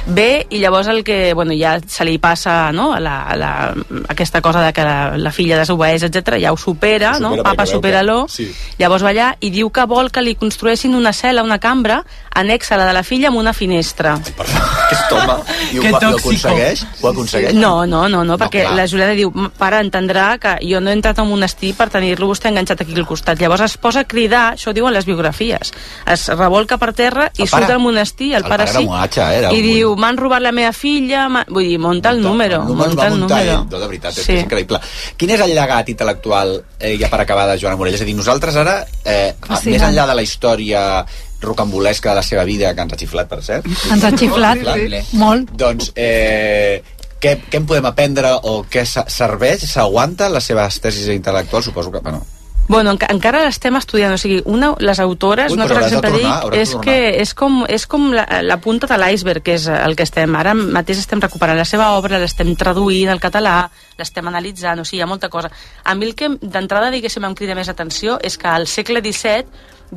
S10: Ve i llavors el que, bueno, ja se li passa, no?, la, la, aquesta cosa de que la, la filla desobeeix, etc ja ho supera,
S15: Supera
S10: no? Ah,
S15: perquè
S10: Papa,
S15: veu que-
S10: supera-lo.
S15: sí.
S10: Llavors va allà i diu que vol que li construeixin una cel·la, una cambra, anexa a la de la filla amb una finestra.
S4: Aquest home, i ho,
S10: Que
S4: va- i ho
S10: tòxico.
S4: aconsegueix? Ho aconsegueix?
S10: No, no, no, no perquè
S4: clar.
S10: la Juliana diu, "M- pare, entendrà que jo no he entrat a un monestir per tenir-lo vostè enganxat aquí al costat. Llavors es posa a cridar, això ho diuen les biografies, es revolca per terra i
S4: El
S10: surt
S4: pare-
S10: al monestir, el,
S4: el pare
S10: pare,
S4: era
S10: sí,
S4: un atxa, era
S10: i
S4: un-
S10: diu, m'han robat la meva filla, m'ha-" vull dir, munta el número,
S4: Només
S10: munta el número.
S4: ell, no, de veritat, és,
S10: Sí.
S4: sí. és increïble. Quin és el llegat intel·lectual, eh, ja per acabar, de Joana Morell? És a dir, nosaltres ara, eh,
S11: Fascinant.
S4: més enllà de la història rocambolesca de la seva vida, que ens ha xiflat, per cert,
S11: Ens ha xiflat molt.
S4: doncs, eh, què, què en podem aprendre o què se- serveix? S'aguanta les seves tesis intel·lectuals? Suposo que... Bueno,
S10: Bueno, enca encara l'estem estudiant, o sigui, una, les autores,
S4: Ui,
S10: una
S4: però
S10: cosa que
S4: hauràs de
S10: sempre
S4: tornar, hauràs
S10: dic,
S4: de
S10: és
S4: tornar.
S10: que és com, és com la, la punta de l'iceberg, que és el que estem. Ara mateix estem recuperant la seva obra, l'estem traduint al català, l'estem analitzant, o sigui, hi ha molta cosa. A mi el que d'entrada, diguéssim, em crida més atenció és que al segle XVII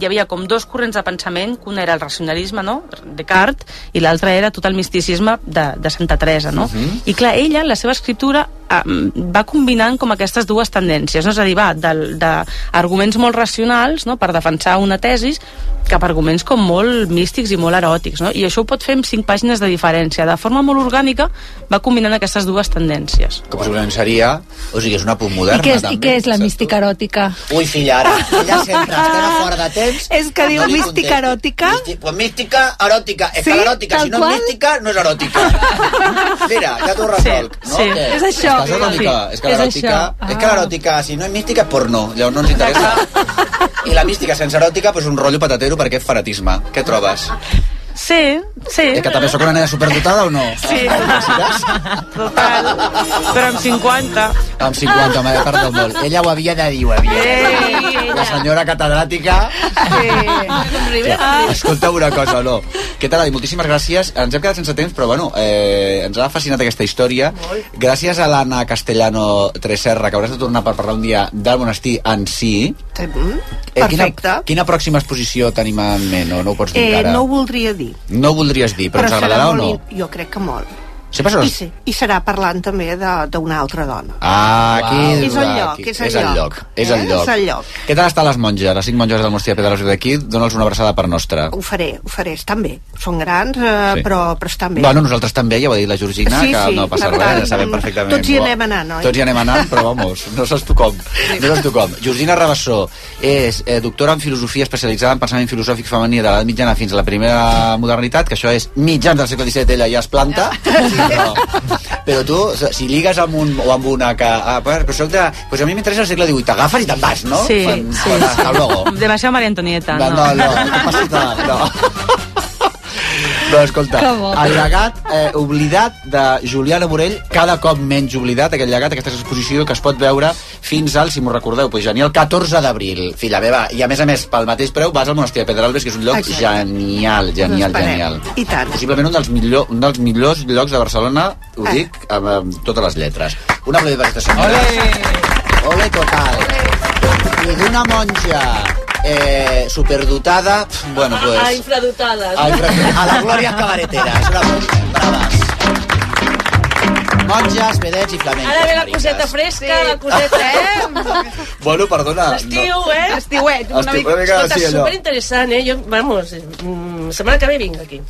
S10: hi havia com dos corrents de pensament, que un era el racionalisme, no?, Descartes, i l'altre era tot el misticisme de, de Santa Teresa, no?
S13: Mhm.
S10: I clar, ella, en la seva escriptura,
S12: Ah,
S10: em,
S12: mm.
S10: va combinant com aquestes dues tendències, no? És a dir, va d'arguments molt racionals, no?, per defensar una tesis, cap a arguments com molt místics i molt eròtics, no? I això ho pot fer amb cinc pàgines de diferència. De forma molt orgànica va combinant aquestes dues tendències.
S4: Que possiblement seria... O sigui, és una punt
S11: I
S4: moderna,
S11: què és, i
S4: també.
S11: què és la mística eròtica?
S4: Ui, filla, ara, ella sempre estarà fora de temps.
S11: És que diu
S4: li
S11: mística
S4: contesto.
S11: eròtica?
S4: Místi- Pues mística, eròtica. És
S11: Sí,
S4: que l'eròtica,
S11: tal
S4: si no
S11: qual.
S4: és mística, no és eròtica. Mira, ja t'ho resolc. no?
S11: sí.
S4: Que-
S11: És això.
S4: És que l'eròtica,
S11: Sí.
S4: és que
S11: És
S4: l'eròtica,
S11: això. Ah.
S4: és que l'eròtica, si no és mística, és porno. Llavors no ens interessa.
S11: Ah.
S4: I la mística sense eròtica, pues un rotllo patatero perquè és fanatisme. Què trobes?
S10: Sí, sí.
S4: Eh, que també sóc una nena superdotada o no?
S10: Sí. Total. Però amb 50.
S4: Amb 50, m'ha tardat molt. Ella ho havia de dir, ho havia de dir. La senyora catedràtica...
S8: Ah,
S4: Ja. Escolta una cosa, no. Què tal, Adi? Moltíssimes gràcies. Ens hem quedat sense temps, però bueno, eh, ens ha fascinat aquesta història. Gràcies a l'Anna Castellano Treserra, que hauràs de tornar per parlar un dia del monestir en si. Eh, quina,
S9: mm, Perfecte.
S4: quina pròxima exposició tenim en ment? No, no ho pots dir
S9: Eh,
S4: encara.
S9: no ho voldria dir.
S4: no ho voldries dir, però, ens
S9: serà
S4: agradarà o no?
S9: molt in- Jo crec que molt.
S4: Sempre seràs-
S9: I, sí, I serà parlant també de- d'una altra dona.
S4: Ah, aquí,
S9: És el lloc,
S4: aquí.
S9: és el
S4: el
S9: lloc.
S4: lloc. És
S9: Eh?
S4: el lloc.
S9: És el lloc.
S4: Què tal estan les monges, les cinc monges del monestir de Pedralbes d'aquí? Dóna'ls una abraçada per nostra.
S9: Ho faré, ho faré, estan bé. Són grans, eh,
S4: Sí.
S9: però, però estan bé.
S4: Bueno, nosaltres també, ja ho ha dit la Georgina,
S9: Sí,
S4: que
S9: sí,
S4: no passa
S9: per
S4: res,
S9: tant,
S4: ja sabem perfectament.
S9: tots hi anem anant, oi?
S4: Tots hi anem anant, però vamos, no saps tu com. No saps tu com. Georgina Rabassó és eh, doctora en filosofia especialitzada en pensament filosòfic femení de l'edat mitjana fins a la primera modernitat, que això és mitjans del segle XVII, ella ja es planta, però tu, o sigui, si ligues amb un o amb una que... Ah, pues, però soc de... Pues a mi m'interessa el segle XVIII, t'agafes i te'n vas, no?
S10: Sí,
S4: Fan-
S10: sí,
S4: fan-
S10: sí.
S4: Hasta luego.
S10: Demasiado María Antonieta,
S4: No,
S10: no.
S4: no, no, no passa res, no. No, escolta,
S10: Que bo.
S4: el llegat eh, oblidat de Juliana Morell, cada cop menys oblidat, aquest llegat, aquesta exposició que es pot veure fins al, si m'ho recordeu, pues, genial, 14 d'abril, filla meva. I a més a més, pel mateix preu, vas al monestir de Pedralbes, que és un lloc
S9: Exacte.
S4: genial, genial,
S9: Us esperem.
S4: genial.
S9: I tant.
S4: Possiblement un dels, millor, un dels millors llocs de Barcelona,
S9: Eh.
S4: ho dic amb, amb totes les lletres. Una aplaudiment per aquesta senyora. Ole total. I d'una monja eh, superdotada, pf, bueno, pues...
S8: A infradotades.
S4: Al frente, a la Gloria Cabaretera. És una monja, braves. Monges, vedets i flamencos.
S8: Ara ve la
S4: mariques.
S8: coseta fresca, la coseta... <laughs> Eh?
S4: Bueno, perdona.
S8: Estiu, eh?
S12: Estiuet,
S4: una Estiu, mica- una mica,
S8: Escolta,
S4: sí, allò.
S8: superinteressant, eh? Jo, vamos, mm, setmana que ve vinc aquí.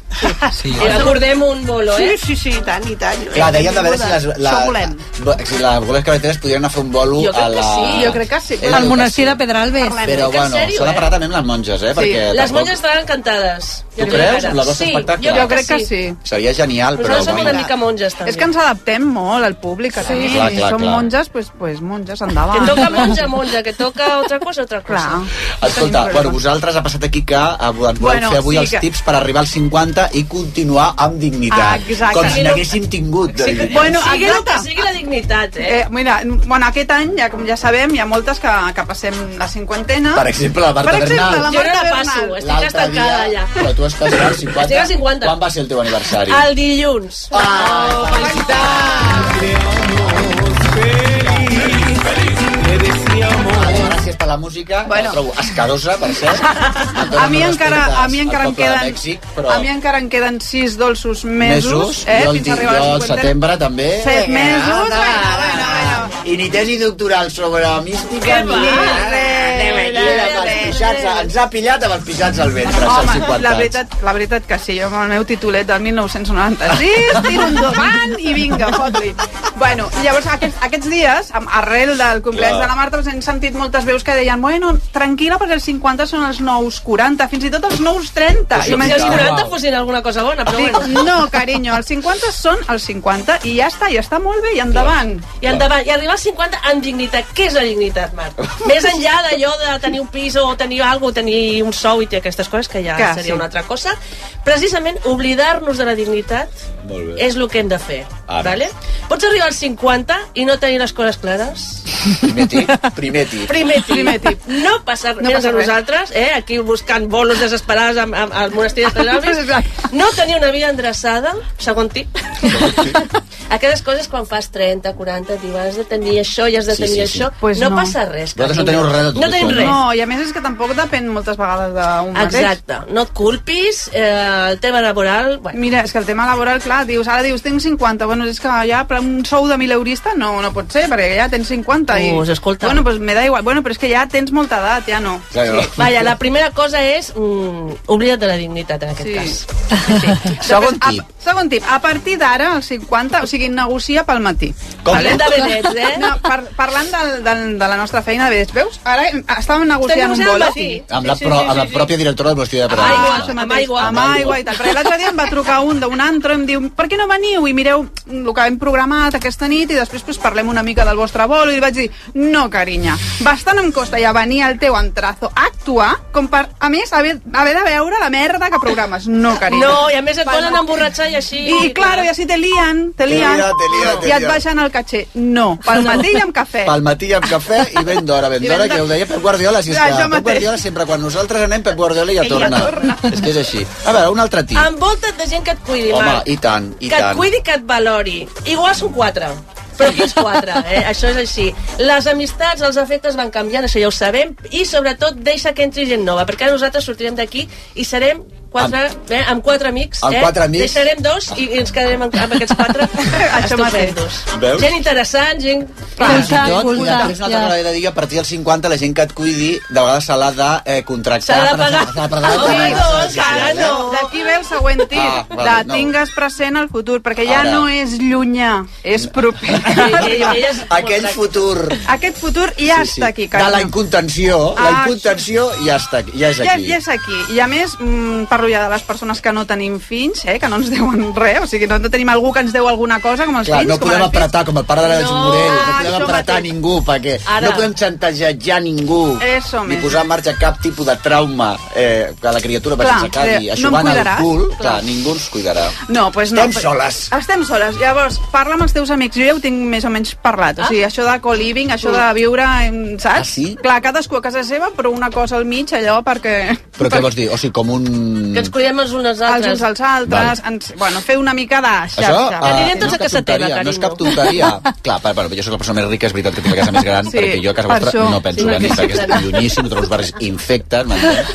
S4: Sí,
S8: I acordem un bolo, eh?
S9: Sí, sí, sí, i tant, i tant.
S4: Clar, dèiem de veure si les, la,
S9: Això volem.
S4: si les Glorias Cabareteres podrien anar a fer un bolo
S9: Jo crec
S4: a
S9: que
S4: la...
S9: sí, jo crec que sí.
S4: Eh,
S11: Al monestir de Pedralbes.
S4: Però,
S8: Que en
S4: bueno,
S8: sèrio,
S4: s'ha de
S8: eh?
S4: parar també amb les monges, eh?
S8: Sí,
S4: Perquè
S8: les
S4: tampoc-
S8: monges estaran encantades.
S4: Tu creus? Amb la vostra
S8: sí,
S4: espectacle?
S8: Jo, crec que sí.
S4: Seria genial, però...
S8: Nosaltres som
S4: bueno.
S8: una mica monges, també.
S12: És que ens adaptem molt al públic. Sí,
S4: Sí, clar, clar,
S12: Som
S4: clar.
S12: monges, doncs pues, monges, endavant.
S8: Que toca monja, monja, que toca otra cosa, otra cosa.
S12: Clar.
S4: Escolta, bueno, vosaltres ha passat aquí que eh, voleu
S8: Bueno,
S4: fer avui
S8: sí
S4: els
S8: que-
S4: tips per arribar als 50 i continuar amb
S12: Ah,
S4: dignitat.
S12: exacte.
S4: Com si
S12: Sí, no-
S4: n'haguéssim tingut. de dignitat.
S12: Bueno,
S8: sigui el que
S12: exacte.
S8: sigui la dignitat, eh?
S12: Eh, mira, bueno, aquest any, ja, com ja sabem, hi ha moltes que, que passem la cinquantena.
S4: Per exemple, la Marta
S12: Per exemple,
S4: Bernal.
S12: la
S8: Ah. Jo no la
S12: Marta Bernal.
S8: passo, estic
S4: L'altre
S8: estancada
S4: dia-
S8: allà.
S4: Però tu estàs als 50.
S8: Estic als 50.
S4: Quan va ser el teu aniversari?
S8: El dilluns. Ah,
S4: Oh, Vale, gràcies per la música. Bueno. La trobo escarosa, per
S12: <laughs>
S4: cert.
S12: A mi encara, a mi
S4: Al
S12: encara em
S4: poble de
S12: queden...
S4: Mèxic, però-
S12: A mi encara em queden sis dolços mesos, eh,
S4: jo el,
S12: fins a
S4: di-
S12: arribar
S4: jo
S12: al
S4: al
S12: 50.
S4: setembre també. Eh,
S12: Set mesos, bueno, bueno,
S4: I ni tesi doctoral sobre la mística
S12: Què
S4: ni
S12: va?
S4: anem aquí amb els pixats, ens ha pillat amb els pixats al ventre als
S12: Home,
S4: 50
S12: la veritat, la veritat que sí, jo amb el meu titulet del 1996, tiro endavant i vinga, fot-li. Bueno, llavors aquests, aquests dies, amb- arrel del complex
S13: Clar.
S12: de la Marta, us hem sentit moltes veus que deien bueno, tranquil·la perquè els 50 són els nous 40, fins i tot els nous 30.
S8: Si els 40 fossin alguna cosa bona, però
S12: Dic,
S8: bueno.
S12: no, carinyo, els 50 són els 50 i ja està, i està molt bé, i endavant.
S8: I endavant. I arribar als 50 amb dignitat. Què és la dignitat, Marc? Més enllà d'allò de tenir un pis o tenir alguna cosa, tenir un sou i aquestes coses, que ja
S12: Que
S8: seria
S12: sí.
S8: una altra cosa, precisament oblidar-nos de la dignitat
S4: Molt bé.
S8: és el que hem de fer.
S4: Ara.
S8: Vale? Pots arribar als 50 i no tenir les coses clares?
S4: primer tip, primer tip
S8: Primer tip. Primer tip. No passa res.
S12: No
S8: No passa
S12: passa res.
S8: nosaltres, eh, aquí buscant bolos desesperats amb, amb, <laughs> <laughs> al monestir de Pedralbes. No tenir una vida endreçada, segon tip. Aquestes coses quan fas 30, 40, dius, has de tenir això i has de
S4: Sí,
S8: tenir
S4: sí, sí.
S8: això.
S4: Pues
S8: no,
S4: no.
S8: passa res.
S4: Vosaltres no teniu res de tot
S8: No tenim
S4: això,
S8: res.
S12: No, i a més és que tampoc depèn moltes vegades d'un mateix.
S8: Exacte. No et culpis, eh, el tema laboral... Bueno.
S12: Mira, és que el tema laboral, clar, dius, ara dius, tinc 50, bueno, és que ja per un sou de 1.000 eurista no, no pot ser, perquè ja tens 50. I,
S8: Pues, escolta.
S12: Bueno, pues me da igual, bueno, però és que ja tens molta edat, ja no.
S8: Sí. Vaja, la primera cosa és mm, oblida't de la dignitat en aquest
S12: Sí.
S8: cas.
S12: Segon tip. A, segon tip. A partir d'ara, als 50, o sigui, negocia pel matí.
S8: Com? Parlem de vedets, eh?
S12: No, par parlant del, del, de la nostra feina de vedets, veus? Ara hem- estàvem negociant un
S8: negociant
S12: bolo.
S8: al matí.
S4: Amb la, pro, amb la pròpia directora del Vestida de Prada.
S12: Ah, això mateix, amb aigua i tal. Perquè l'altre dia em va trucar un d'un antro i em diu, per què no veniu i mireu el que hem programat aquesta nit i després pues, parlem una mica del vostre vol i li vaig dir, no, carinya, bastant em costa ja venir al teu entrazo a actuar com per, a més, haver, haver de veure la merda que programes. No, carinya.
S8: No, i a més et
S12: Pel
S8: poden
S12: matí.
S8: emborratxar i així...
S12: I, claro, i així te lien, te
S4: Te
S12: lien.
S4: lia, te lia, te
S12: I et
S4: lia.
S12: baixen el caché. No, pel matí i amb cafè.
S4: Pel matí amb cafè i ben d'hora, ben
S12: I
S4: d'hora,
S12: ben
S4: que ho deia Pep Guardiola, si és
S12: Ah,
S4: que
S12: jo
S4: Pep
S12: mateix.
S4: Guardiola sempre, quan nosaltres anem, Pep Guardiola ja
S8: Ella
S4: torna. És que és així. A veure, un altre
S12: Ah,
S4: tip.
S8: Envolta't de gent que et cuidi,
S4: Home,
S8: Marc.
S4: i tant, i
S8: que et
S4: tant.
S8: cuidi, que et valori. Igual són quatre, però aquí és quatre, eh?
S4: <laughs>
S8: això és així. Les amistats, els afectes van canviant, això ja ho sabem, i sobretot deixa que entri gent nova, perquè ara nosaltres sortirem d'aquí i serem quatre, amb, eh, amb quatre amics.
S4: Amb
S8: eh?
S4: quatre amics.
S8: Deixarem dos i, i ens quedarem amb, amb aquests
S4: <laughs>
S8: quatre estupendos.
S4: Veus?
S8: Gent interessant, gent...
S4: Fins i tot, i després una altra cosa que he de dir, a partir dels 50 la gent que et cuidi de vegades se l'ha de eh, contractar.
S12: S'ha de
S4: per-
S12: pagar.
S4: S'ha de pagar.
S12: Home,
S4: per-
S12: no,
S4: per-
S12: encara
S4: per-
S12: no. D'aquí ve el següent tip,
S4: Ah,
S12: de
S4: vale, no.
S12: tingues present el futur, perquè ja
S4: Ara.
S12: no és llunyà, és proper.
S4: Aquell futur
S12: Aquest futur ja
S4: sí.
S12: està aquí,
S4: de la
S12: Carme.
S4: incontenció, la
S12: Ah,
S4: incontenció ja està aquí, ja és
S12: Ja,
S4: aquí.
S12: ja és aquí. I a més, mm, parlo ja de les persones que no tenim fills, eh, que no ens deuen res, o sigui, no tenim algú que ens deu alguna cosa, com els
S4: Clar,
S12: fills.
S4: no
S12: com
S4: podem
S12: les filles.
S4: apretar com el pare de l'Àlex
S12: No,
S4: Morell, no
S12: ah,
S4: podem
S12: això
S4: apretar
S12: mateix.
S4: ningú, perquè
S12: Ara.
S4: no podem xantajejar ningú,
S12: Eso
S4: ni
S12: mesmo.
S4: posar en marxa cap tipus de trauma eh, que la criatura
S12: Clar,
S4: perquè s'acabi.
S12: eh,
S4: Això
S12: no
S4: va
S12: em
S4: en el
S12: cuidaràs,
S4: cul,
S12: clar.
S4: clar, ningú ens cuidarà.
S12: No, pues no.
S4: Estem soles.
S12: Estem soles. Llavors, parla amb els teus amics. Jo ja ho tinc més o menys parlat. O sigui, això de co-living, això de viure, em, saps?
S4: Ah, sí?
S12: Clar, cadascú a casa seva, però una cosa al mig, allò, perquè...
S4: Però què vols dir? O sigui, com un...
S8: cuidem els uns als
S12: altres. Els uns als altres. Ens, bueno, fer una mica de xarxa.
S4: Això, ah, no és cap tonteria, no és cap tonteria.
S12: <laughs>
S4: Clar, per, bueno, jo sóc la persona més rica, és veritat que tinc la casa més gran,
S12: Sí,
S4: sí, perquè jo a casa
S12: per
S4: vostra
S12: això.
S4: no penso
S12: Sí,
S4: venir,
S12: sí,
S4: perquè és
S12: clar.
S4: llunyíssim, tots els barris infecten, m'entens?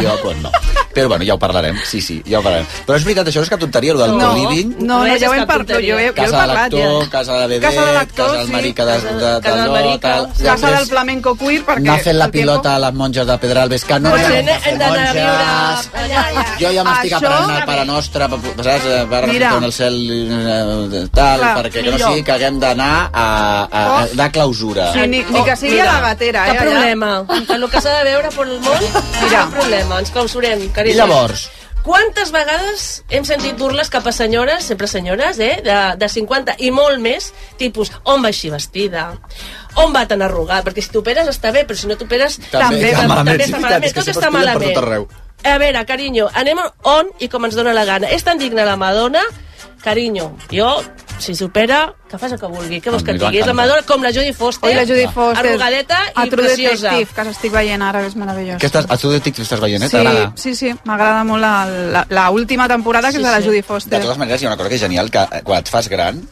S4: I jo, doncs, no. Però, bueno, ja ho parlarem, sí, sí, ja ho parlarem. Però és veritat, això no és cap tonteria, el del
S12: No,
S4: co-living.
S12: no, no,
S8: Res
S12: ja ho
S8: és
S12: hem
S8: cap
S12: parlat,
S8: tonteria.
S12: jo, he- jo he
S4: Casa de
S12: parlat ja.
S4: l'actor, casa de vedet,
S12: Casa de l'actor,
S4: casa del
S12: sí.
S4: marica de, de, de,
S12: Casa del
S4: de,
S12: marica, Casa del flamenco queer, perquè...
S4: Anar fent la
S12: el tiempo-
S4: pilota a les monges de Pedralbes, que no
S12: Bueno,
S4: eren
S12: hem- hem d'anar a
S4: monges.
S12: viure allà, allà.
S4: Jo ja m'estic
S12: Això-
S4: aprenent el Pare Nostre, pa- pa- saps? Eh, Per
S12: Mira.
S4: remuntar el cel, eh, tal,
S12: Clar,
S4: perquè que no
S12: millor.
S4: sigui que haguem d'anar a, a, a,
S12: Oh.
S4: de clausura.
S12: Sí, ni, ni que sigui a la gatera, eh?
S8: Oh, Cap
S12: allà.
S8: problema.
S12: <laughs>
S8: En el que s'ha de veure per el món, cap problema. Ens clausurem,
S4: I
S8: carinyo.
S4: llavors,
S8: Quantes vegades hem sentit burles cap a senyores, sempre senyores, eh, de, de 50 i molt més, tipus, on va així vestida? On va tan arrugat? Perquè si t'operes està bé, però si no t'operes
S4: també,
S8: està
S4: malament.
S8: també està malament. Tot està malament. A veure, carinyo, anem on i com ens dóna la gana. És tan digna la Madonna, carinyo, jo, si supera, que fas el que vulgui. Què vols que et digui? És la Madonna com la Jodie Foster.
S12: Oi, la Judy Foster.
S8: Arrugadeta
S12: a
S8: i
S12: True
S8: preciosa.
S12: Detective, que s'estic veient ara, que és meravellós.
S4: Què estàs, a tu de TikTok estàs veient, eh?
S12: Sí,
S4: T'agrada?
S12: sí, sí, m'agrada molt la- la- la última temporada, que és de la Judy Foster.
S4: De totes maneres, hi ha una cosa que és genial, que eh, quan et fas gran,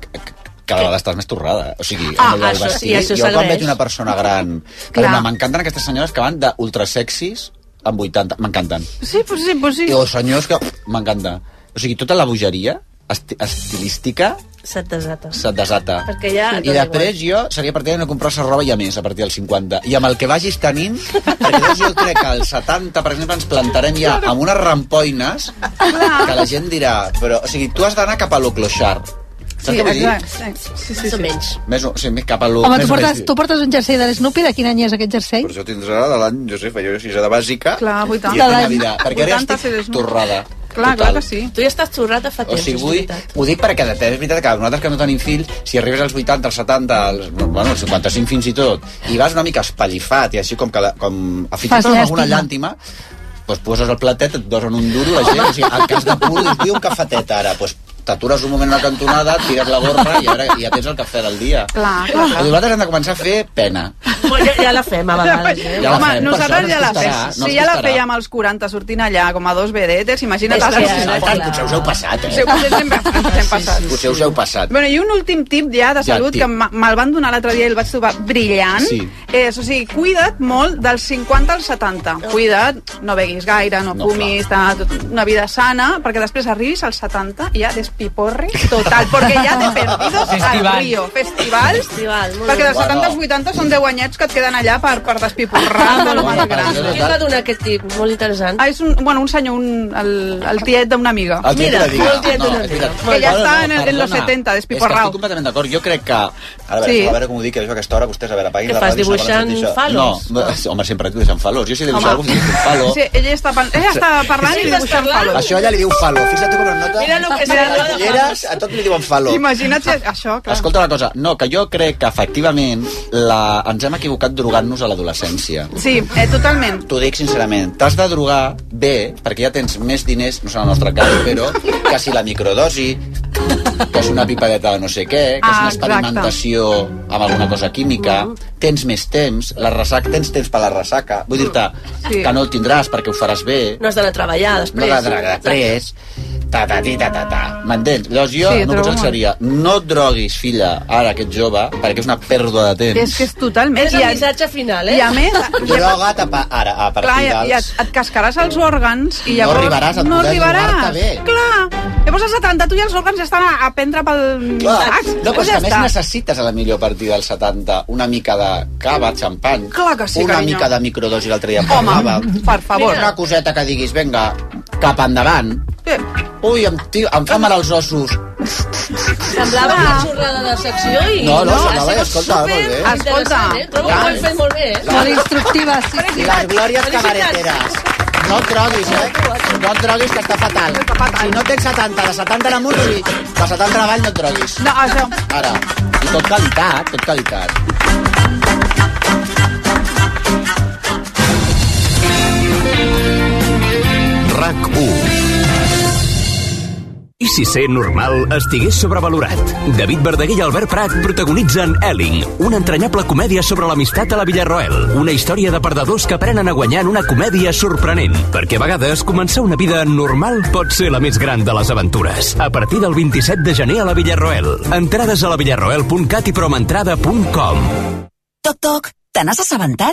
S4: que- que cada vegada estàs més torrada. O sigui,
S12: Ah,
S4: amb el
S12: això sí,
S4: vestit,
S12: això
S4: jo quan
S12: s'agraeix.
S4: veig una persona gran... Per
S12: Clar.
S4: exemple, m'encanten aquestes senyores que van d'ultrasexis amb 80. M'encanten.
S12: Sí, pues sí, pues sí.
S4: I els senyors que... M'encanta. O sigui, tota la bogeria esti estilística
S8: Se't desata.
S4: se't desata.
S8: Perquè ja
S4: I
S8: tot
S4: després jo seria partidari de no comprar-se roba ja més a partir dels 50. I amb el que vagis tenint, perquè llavors jo crec que als 70, per exemple, ens plantarem ja amb unes rampoines que la gent dirà, però, o sigui, tu has d'anar cap a lo clochard. Saps
S11: Sí,
S4: què vull dir?
S11: exacte.
S8: Sí, sí, sí. Menys.
S4: Més o, sí, més cap a lo...
S11: Home, tu
S4: més o
S11: portes,
S4: menys.
S11: tu portes un jersei de l'Snoopy, de quin any és aquest jersei?
S4: Però això tindrà de l'any, Josefa, jo si era de bàsica.
S12: Clar, 80.
S4: I és
S12: De
S4: de
S12: l'any
S4: Navidad, perquè ara
S12: 80
S4: ja
S12: si eres
S4: estic
S12: molt-
S4: torrada.
S12: Clar, clar que sí.
S8: Tu ja estàs torrat a fa
S4: O
S8: temps,
S4: sigui,
S8: és
S4: vull,
S8: veritat.
S4: ho dic perquè de fet, és veritat que nosaltres que no tenim fills, si arribes als 80, als 70, als, bueno, als 55 fins i tot, i vas una mica espallifat i així com, que la, com a fins i
S11: Fas
S4: tot amb alguna
S11: llàstima.
S4: llàntima, doncs poses el platet, et dosen un duro, la gent, o sigui, en cas de pur, dius, vull un cafetet ara, doncs t'atures un moment a la cantonada, et tires la gorra i ara ja tens el cafè del dia.
S12: Clar,
S4: clar.
S12: clar,
S4: I
S12: clar.
S4: nosaltres hem de començar a fer pena.
S8: Bueno, ja, ja la fem a vegades. Eh?
S4: Ja la
S12: Home,
S4: fem, per això
S12: nosaltres
S4: no
S12: ja
S4: ens
S12: la fem.
S4: costarà, no
S12: Si
S4: ens
S12: ja la
S4: costarà.
S12: fèiem als 40 sortint allà com a dos vedetes, imagina't
S4: És
S12: als
S4: que-
S12: 60.
S4: Potser us heu passat,
S12: Sí,
S4: eh?
S12: potser ens hem
S4: <laughs>
S12: ens hem passat.
S4: Potser us heu passat.
S12: Bueno, i un últim tip ja de
S4: Ja,
S12: salut
S4: tip.
S12: que me- me'l van donar l'altre dia i el vaig trobar brillant.
S4: Sí.
S12: És, o sigui, cuida't molt dels 50 als 70. Cuida't, no beguis gaire, no,
S4: No,
S12: fumis, ta- una vida sana, perquè després arribis als 70 i ja despiporri total, perquè ja te perdidos
S13: Festival.
S12: al río. Festival. Festival
S8: molt
S12: perquè
S8: bé.
S12: dels 70 als
S8: Bueno.
S12: 80 són 10 anyets que et queden allà per, per despiporrar de lo
S8: Qui
S12: més gran.
S8: et va donar aquest tip? Molt interessant.
S12: Ah, és un, bueno, un senyor, un, el, el tiet d'una amiga.
S4: El tiet d'una amiga.
S12: el tiet
S4: No,
S12: d'una
S4: és
S12: amiga.
S4: veritat.
S12: Que ja
S4: Perdona,
S12: està en, en los
S4: perdona.
S12: 70,
S4: És que
S12: despiporrau.
S4: estic completament d'acord. Jo crec que... A veure,
S12: Sí.
S4: a veure com ho dic, que és que a aquesta hora vostès, a veure, apaguin
S12: Què
S4: la
S12: fas,
S4: ràdio... se'n van
S12: dibuixant
S4: sentir això.
S12: falos?
S4: No, no, home, sempre dibuixant falos. Jo si dibuixo
S12: Home.
S4: alguna cosa, dibuixo un falo.
S12: Sí, ella està, pan- ella està parlant i
S4: Sí,
S12: dibuixant falo.
S4: Això ella li diu falo. Fixa't com es nota.
S12: Mira lo que se
S4: Mira,
S12: le
S4: les
S12: nota.
S4: ulleres, a tot li diuen falo.
S12: Imagina't si això, clar.
S4: Escolta una cosa, no, que jo crec que efectivament la... ens hem equivocat drogant-nos a l'adolescència.
S12: Sí, eh, totalment.
S4: T'ho dic sincerament, t'has de drogar bé, perquè ja tens més diners, no serà el nostre
S12: <laughs>
S4: cas, però que si la microdosi, que és una pipadeta de no sé què, que és
S12: Ah,
S4: una
S12: exacte. Mm.
S4: experimentació amb alguna cosa química, tens més temps, la ressaca, tens temps per la ressaca. Vull dir-te
S8: Sí.
S4: que no el tindràs perquè ho faràs bé,
S8: No has d'anar a treballar
S4: no
S8: després.
S4: la droga, després... Ta, ta, ti, ta, ta, ta. M'entens? Llavors jo
S12: Sí,
S4: sí, no
S12: trobo
S4: pensaria, no et droguis, filla, ara aquest jove, perquè és una pèrdua de temps.
S12: És que és totalment...
S8: És el missatge final, eh?
S12: I a
S4: <laughs>
S12: més...
S4: Droga't a, pa, ara, a partir
S12: Clar, i, i
S4: dels...
S12: et, et cascaràs els òrgans i
S4: No
S12: llavors...
S4: arribaràs a
S12: no
S4: poder
S12: arribaràs.
S4: drogar-te bé.
S12: Clar, llavors als 70 tu i els òrgans ja estan a, a prendre pel
S4: Clar,
S12: sac.
S4: no, però és
S12: ja
S4: que a més
S12: està.
S4: necessites a la millor partida dels 70 una mica de cava, xampany,
S12: Clar que sí,
S4: una
S12: carinyo.
S4: mica de microdosi l'altre dia en
S12: Home,
S4: parlava.
S12: per favor.
S4: Una coseta que diguis, venga, cap endavant. Ui, em, tio, em fa mal els ossos.
S8: Semblava una xorrada de secció i...
S4: No, no,
S8: ha
S4: semblava,
S8: sigut
S4: escolta,
S8: super
S4: molt bé.
S8: interessant, Eh? Trobo que ho hem fet molt bé, eh?
S11: Molt instructiva, sí.
S4: I les glòries cabareteres. No et droguis, eh? No et droguis, que està fatal. Si no tens 70, de 70 en amunt, sí. De 70 en avall no et droguis.
S12: No, això...
S4: Ara. I tot qualitat, tot qualitat.
S14: RAC 1 i si ser normal estigués sobrevalorat. David Verdaguer i Albert Prat protagonitzen Elling, una entranyable comèdia sobre l'amistat a la Villarroel. Una història de perdedors que aprenen a guanyar en una comèdia sorprenent. Perquè a vegades començar una vida normal pot ser la més gran de les aventures. A partir del 27 de gener a la Villarroel. Entrades a la villarroel.cat i promentrada.com
S15: Toc, toc, te n'has assabentat?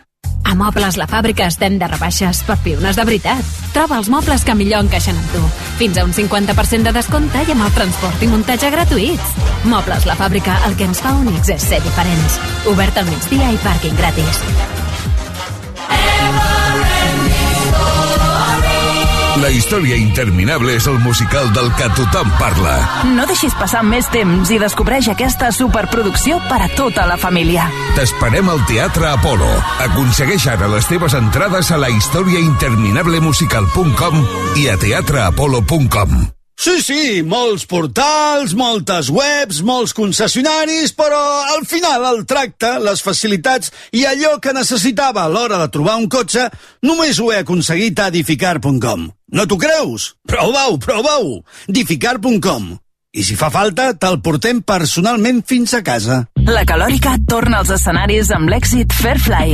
S16: A Mobles La Fàbrica estem de rebaixes per piones de veritat. Troba els mobles que millor encaixen amb tu. Fins a un 50% de descompte i amb el transport i muntatge gratuïts. Mobles La Fàbrica, el que ens fa únics és ser diferents. Obert al migdia i pàrquing gratis.
S17: La història interminable és el musical del que tothom parla.
S18: No deixis passar més temps i descobreix aquesta superproducció per a tota la família.
S17: T'esperem al Teatre Apolo. Aconsegueix ara les teves entrades a la historiainterminablemusical.com i a teatreapolo.com.
S19: Sí, sí, molts portals, moltes webs, molts concessionaris, però al final el tracte, les facilitats i allò que necessitava a l'hora de trobar un cotxe, només ho he aconseguit a edificar.com. No t'ho creus? Prova-ho, prova-ho! edificar.com. I si fa falta, te'l portem personalment fins a casa.
S18: La Calòrica torna als escenaris amb l'èxit Fairfly,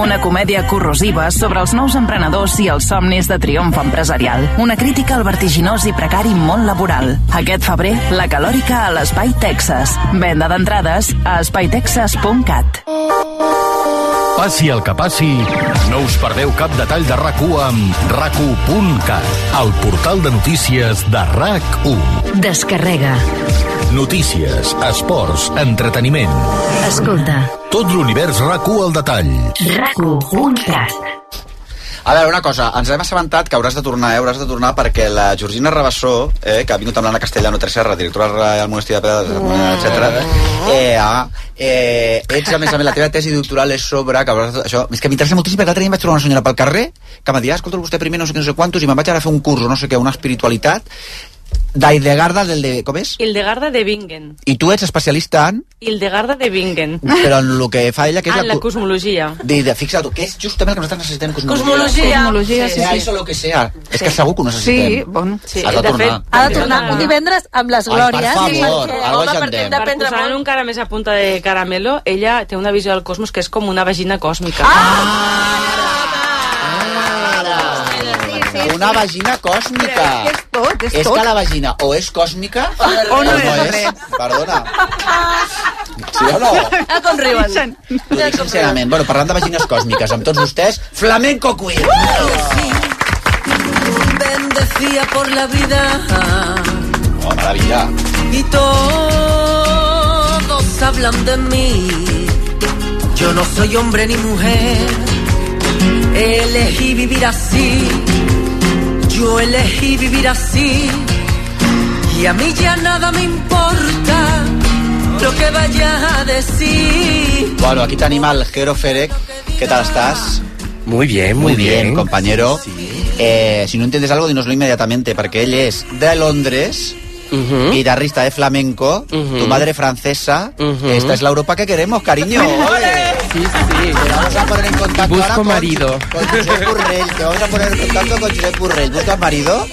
S18: una comèdia corrosiva sobre els nous emprenedors i els somnis de triomf empresarial. Una crítica al vertiginós i precari món laboral. Aquest febrer, La Calòrica a l'Espai Texas. Venda d'entrades a espaitexas.cat.
S7: Passi el que passi, no us perdeu cap detall de RAC1 amb rac1.cat, el portal de notícies de RAC1.
S16: Descarrega.
S7: Notícies, esports, entreteniment.
S16: Escolta.
S7: Tot l'univers RAC1 al detall.
S16: RAC1.cat
S4: A veure, una cosa, ens hem assabentat que hauràs de tornar, eh? hauràs de tornar perquè la Georgina Rabassó, eh, que ha vingut amb l'Anna Castellano Tresserra, directora del Monestir de Pedra, etc. Eh, ah, eh, ets, a més a més, la teva tesi doctoral és sobre... Que hauràs de, això, és que m'interessa moltíssim perquè l'altre dia em vaig trobar una senyora pel carrer que em va dir, ah, escolta, vostè primer no sé què, no sé quantos, i me'n vaig anar a fer un curs, o no sé què, una espiritualitat d'Aidegarda del de... Com és?
S10: Hildegarda de Bingen.
S4: I tu ets especialista en...
S10: Hildegarda de Bingen.
S4: Però en el que fa ella, que és
S10: Ah, en la cosmologia.
S4: de, de, fixa't, que és justament el que nosaltres necessitem cosmologia.
S10: Cosmologia. Cosmologia,
S4: sí,
S10: sí,
S4: sí.
S10: sí.
S4: Això lo que sea. És que segur que ho necessitem.
S12: Sí, bon.
S4: Sí, ha de, tornar.
S11: ha de tornar un divendres amb les
S4: Ai,
S11: glòries.
S4: per favor,
S11: perquè-
S4: ara ho
S11: Home,
S4: agendem.
S11: perquè hem
S10: Per
S11: d'aprendre
S10: posar
S11: molt.
S10: en un cara més a punta de caramelo, ella té una visió del cosmos que és com una vagina còsmica.
S11: Ah!
S4: Una vagina còsmica.
S10: Però és que és tot, és
S4: és
S10: tot.
S4: que la vagina o és còsmica
S12: O no
S4: no
S12: és
S4: és. Perdona. Sí o
S12: <laughs>
S4: no?
S12: Ah, com riuen.
S4: T'ho dic sincerament. Bueno, parlant de vagines còsmiques, amb tots vostès, Flamenco Queen.
S13: Bendecía por la vida
S4: Oh, maravilla.
S13: y todos hablan de mí. Yo no soy hombre ni mujer, elegí vivir así. Yo elegí vivir así y a mí ya nada me importa lo que vayas a decir.
S4: Bueno, aquí tenim el Jero Ferec. Què tal estàs?
S20: Muy bien,
S4: muy, bien, compañero. Eh, si no entiendes algo, dínoslo inmediatamente, porque él es de Londres, guitarrista de flamenco, tu madre francesa. Esta es la Europa que queremos, cariño.
S20: Sí, sí.
S4: Vamos a poner en contacto ahora
S20: Busco
S4: con,
S20: marido.
S4: con Josep Borrell. Te vamos a poner en contacto con Josep Borrell. ¿Buscas marido?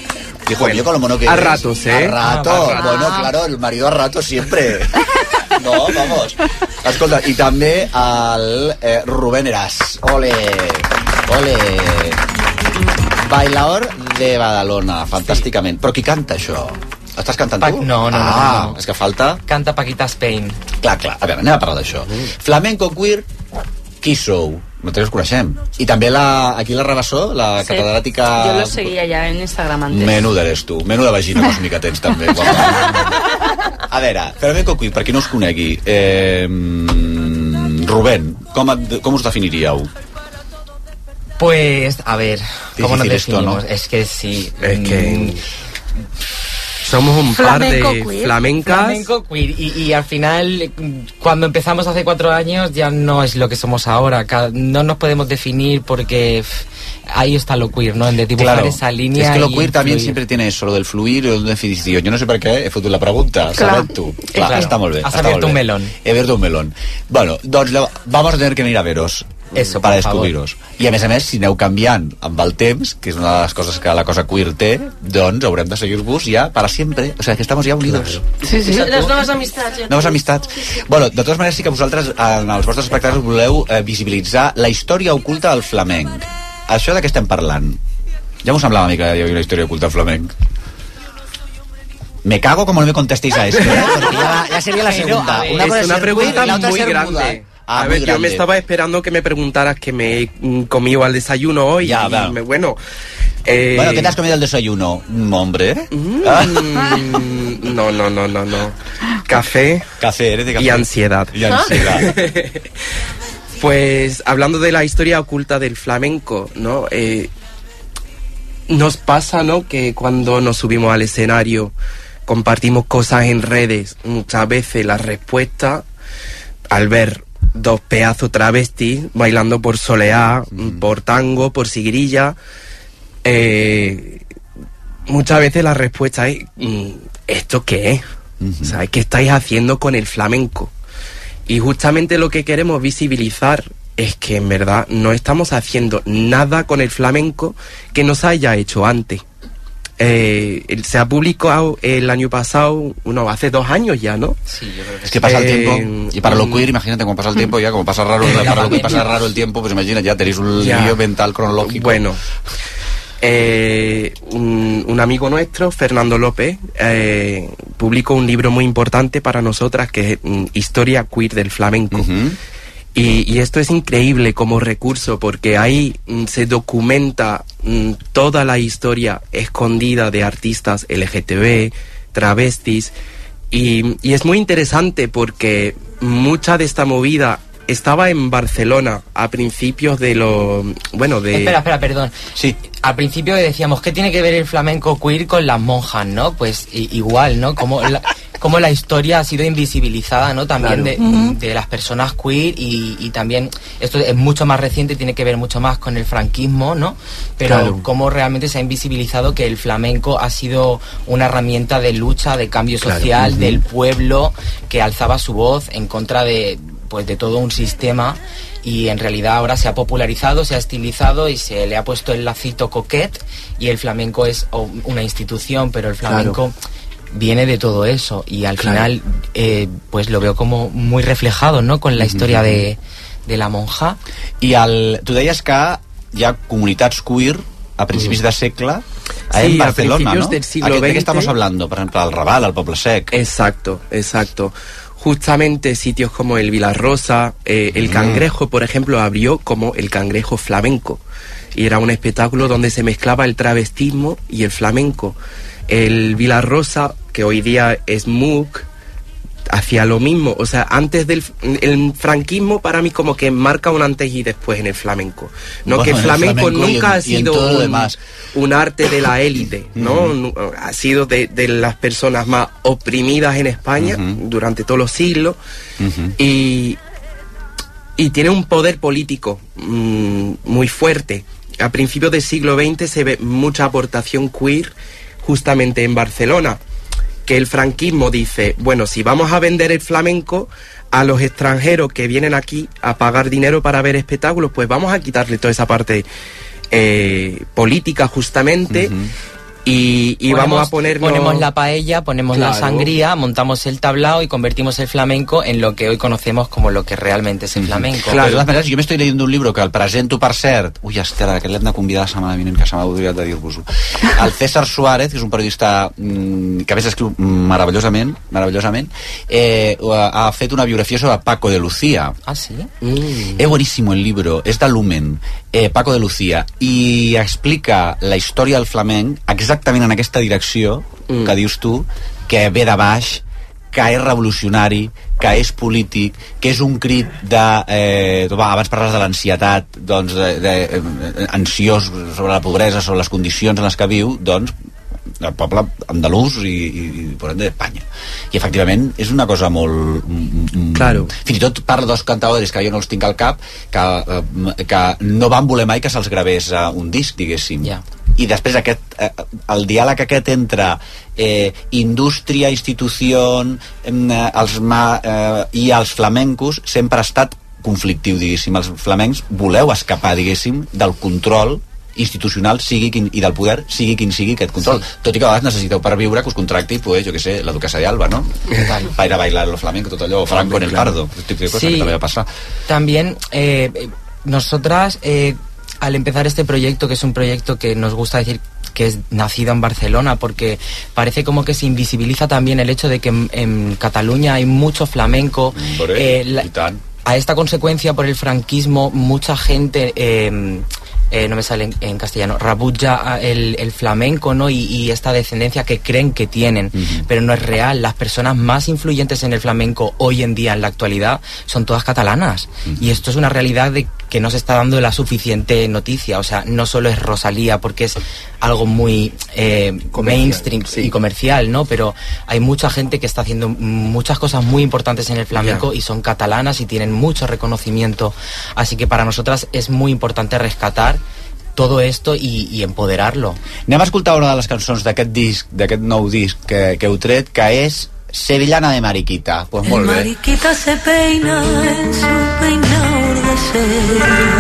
S4: Dijo yo con lo mono que
S20: A
S4: eres.
S20: ratos, ¿eh?
S4: A rato.
S20: Ah, va, va.
S4: bueno, claro, el marido a rato siempre. <laughs> No, vamos. Escolta, i també el eh, Rubén Eras. Ole, ole. Bailaor de Badalona, fantàsticament. Però qui canta això? Estàs cantant tu?
S20: no, no, no,
S4: ah,
S20: no, no.
S4: és que falta...
S20: Canta Paquita Spain. Mm.
S4: Clar, clar, a veure, anem a parlar d'això. Flamenco queer, qui sou? Nosaltres us coneixem. I també la, aquí la Rabassó, la
S10: Sí.
S4: catedràtica...
S10: Jo lo seguia ja en Instagram antes.
S4: Menuda eres tu, menuda vagina còsmica tens també. guapa.
S10: <laughs>
S4: a veure, Flamenco queer, per qui no us conegui, eh, mm, Rubén, com, et, com us definiríeu?
S20: Pues, a ver, ¿cómo nos
S4: Difícil esto,
S20: definimos?
S4: ¿no?
S20: Es que sí. Mm. Es que... Somos un
S13: Flamenco
S20: par de
S13: queer.
S20: flamencas.
S13: Flamenco
S20: queer. Y, y al final, cuando empezamos hace cuatro años, ya no es lo que somos ahora. Ca- No nos podemos definir porque pff, ahí está lo queer, ¿no? En de dibujar esa línea.
S4: es que lo
S20: y
S4: queer también
S20: influir.
S4: siempre tiene eso, lo del fluir y lo de definición. Yo no sé para qué he fotut la pregunta,
S20: Clar.
S4: claro. tú.
S20: Eh,
S4: Clar,
S20: claro.
S4: està molt bé.
S20: Has
S4: està
S20: abierto
S4: molt
S20: un
S4: bé.
S20: melón.
S4: He abierto un melón. Bueno, doncs la, vamos a tener que venir a veros. Eso, para
S20: por favor.
S4: descobrir-vos. I a més a més, si aneu canviant amb el temps, que és una de les coses que la cosa queer té, doncs haurem de seguir-vos ja para sempre. O sea, que estamos ya unidos.
S8: Sí, sí. Les noves amistats. eh. Ja.
S4: Noves amistats. Bueno, de totes maneres sí que vosaltres en els vostres espectacles voleu eh, visibilitzar la història oculta del flamenc. Això de què estem parlant? Ja m'ho semblava a mi que hi havia una història oculta del flamenc. Me cago como no me contestéis a esto. ¿eh? Porque Ya, ya sería la
S20: Pero,
S4: segunda.
S20: a ver,
S4: cosa
S20: es una
S4: ser
S20: pregunta
S4: queer y la otra
S20: muy
S4: ser
S20: grande.
S4: muda. Ah,
S20: a
S4: muy
S20: ver, yo
S4: grande.
S20: me estaba esperando que me preguntaras que me he mm, comido al desayuno hoy.
S4: Ya,
S20: y
S4: va.
S20: me- bueno, eh,
S4: Bueno, ¿qué te has comido el desayuno? Mm, Hombre.
S20: Mm, <laughs> no, no, no, no, no. Café.
S4: Café, eres de café.
S20: Y ansiedad.
S4: Y ansiedad.
S20: <laughs> pues hablando de la historia oculta del flamenco, ¿no? Eh, nos pasa, ¿no? Que cuando nos subimos al escenario, compartimos cosas en redes, muchas veces la respuesta al ver dos pedazos travestis bailando por soleá,
S4: Mm.
S20: por tango, por sigrilla, eh, muchas veces la respuesta es mm, ¿esto qué es? O sea, ¿qué estáis haciendo con el flamenco? Y justamente lo que queremos visibilizar es que en verdad no estamos haciendo nada con el flamenco que nos haya hecho antes. Eh, el- se ha publicado el año pasado, no, hace dos años ya, ¿no? Eh, Sí, yo creo
S4: Es que pasa el tiempo. Y para lo queer, imagínate cómo pasa el tiempo. Ya, como pasa raro,
S20: Ah,
S4: para
S20: <laughs>
S4: lo que pasa raro el tiempo, pues imagina, ya tenéis un
S20: Ya.
S4: lío mental cronológico.
S20: Bueno, eh, un, un amigo nuestro, Fernando López, eh, publicó un libro muy importante para nosotras que es mm, Historia Queer del Flamenco. Y, y esto es increíble como recurso porque ahí mm, se documenta mm, toda la historia escondida de artistas LGTB, travestis, y, y es muy interesante porque mucha de esta movida estaba en Barcelona a principios de los... Bueno, de...
S21: Espera, espera, perdón. Sí. Al principio decíamos, ¿qué tiene que ver el flamenco queer con las monjas, no? Pues i- igual, ¿no? Como la, como la historia ha sido invisibilizada, ¿no? También
S4: Claro.
S21: de,
S4: Ujú.
S21: de las personas queer y, y también esto es mucho más reciente, tiene que ver mucho más con el franquismo, ¿no? Pero
S4: Claro.
S21: cómo realmente se ha invisibilizado que el flamenco ha sido una herramienta de lucha, de cambio
S4: Claro.
S21: social,
S4: Ujú.
S21: del pueblo que alzaba su voz en contra de pues de todo un sistema y en realidad ahora se ha popularizado, se ha estilizado y se le ha puesto el lacito coquet y el flamenco es o- una institución, pero el flamenco viene de todo eso y al
S4: Claro.
S21: final eh, pues lo veo como muy reflejado, ¿no? Con la historia de, de la monja.
S4: I el, tu deies que hi ha comunitats queer a principis de segle eh,
S20: Sí,
S4: en
S20: a
S4: Barcelona,
S20: principios
S4: no?
S20: del siglo
S4: Aquest de
S20: XX.
S4: què estamos hablando? Per exemple, el Raval, el Poble Sec.
S20: Exacto, exacto. Justamente sitios como el Vilarrosa, eh,
S4: Mm.
S20: el Cangrejo, por ejemplo, abrió como el Cangrejo Flamenco. Y era un espectáculo donde se mezclaba el travestismo y el flamenco. El Vilarrosa, que hoy día es MOOC, hacía lo mismo. O sea, antes del el franquismo para mí como que marca un antes y después en el flamenco. No
S4: Bueno,
S20: que
S4: en
S20: el
S4: el
S20: flamenco,
S4: flamenco y
S20: nunca
S4: en-
S20: ha
S4: y en
S20: sido
S4: todo lo
S20: un-
S4: demás.
S20: un arte de la élite, ¿no? Nu- Ha sido de, de las personas más oprimidas en España durante todos los siglos
S19: Mhm.
S20: y, y tiene un poder político mm, muy fuerte. A principios del siglo XX se ve mucha aportación queer justamente en Barcelona, que el franquismo dice, bueno, si vamos a vender el flamenco a los extranjeros que vienen aquí a pagar dinero para ver espectáculos, pues vamos a quitarle toda esa parte eh, política justamente y, y vamos a ponernos...
S21: ponemos la paella, ponemos la
S20: Claro.
S21: sangría, montamos el tablao y convertimos el flamenco en lo que hoy conocemos como lo que realmente es el flamenco.
S4: Clar, de totes maneres, jo m'estic llegint un llibre que el presento, per cert... Ui, Esther, aquest l'hem de convidar la setmana vinent, que se m'ha oblidat de dir-vos-ho. El César Suárez, que és un periodista mm, que a més escriu meravellosament, meravellosament eh, ha ha fet una biografia sobre Paco de Lucía.
S21: Ah, sí?
S4: Es buenísimo Mm. el libro, es de Lumen, eh, Paco de Lucía, i explica la història del flamenc exactament en aquesta direcció mm. que dius tu, que ve de baix, que és revolucionari, que és polític, que és un crit de... Eh, va, abans parles de l'ansietat, doncs, de, de, eh, ansiós sobre la pobresa, sobre les condicions en les que viu, doncs, el poble andalús i, i, i per tant, d'Espanya. I efectivament és una cosa molt... Claro. Fins i tot parla dos cantadores que jo no els tinc al cap que, eh, que no van voler mai que se'ls gravés eh, un disc, diguéssim. Yeah. I després aquest, eh, el diàleg aquest entre eh, indústria, institució eh, els ma, eh, i els flamencos sempre ha estat conflictiu, diguéssim. Els flamencs voleu escapar, diguéssim, del control institucional sigui quin, i del poder sigui quin sigui aquest control. Sí. Tot i que a vegades necessiteu per viure que us contracti, pues, jo que sé, la duquesa de Alba, no? Per ir a bailar lo flamenco, tot allò, o Franco en el Pardo, el tipus de cosa
S21: Sí.
S4: que també va passar.
S21: También eh, eh, nosotras, eh, al empezar este proyecto, que es un proyecto que nos gusta decir que es nacido en Barcelona, porque parece como que se invisibiliza también el hecho de que en, en Cataluña hay mucho flamenco.
S4: Hombre,
S21: Eh, la- a esta consecuencia por el franquismo, mucha gente... eh, eh, no me sale en, en castellano, rabulla ah, el, el flamenco, ¿no? Y, y esta descendencia que creen que tienen, pero no es real. Las personas más influyentes en el flamenco hoy en día, en la actualidad, son todas catalanas. Y esto es una realidad de que no se está dando la suficiente noticia. O sea, no solo es Rosalía, porque es algo muy eh, mainstream y comercial, ¿no? Pero hay mucha gente que está haciendo muchas cosas muy importantes en el flamenco y son catalanas y tienen mucho reconocimiento. Así que para nosotras es muy importante rescatar todo esto y, y empoderarlo.
S4: Anem a escoltar una de les cançons d'aquest disc, d'aquest nou disc que, que heu tret, que és Sevillana de Mariquita. Pues molt bé.
S1: Mariquita se peina en su peinador de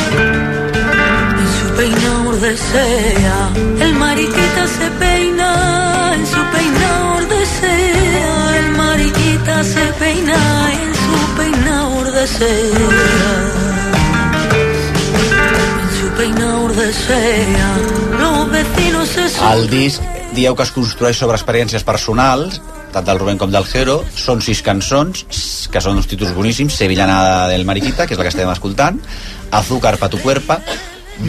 S1: seda. En su peinador de seda. El mariquita se peina en su peinador de seda. El mariquita se peina en su peinador de seda. En su peinador de seda. Los vecinos se
S4: El disc dieu que es construeix sobre experiències personals, tant del Rubén com del Jero. Són sis cançons, que són uns títols boníssims. Sevillana del Mariquita, que és la que estem escoltant. Azúcar pa tu cuerpa.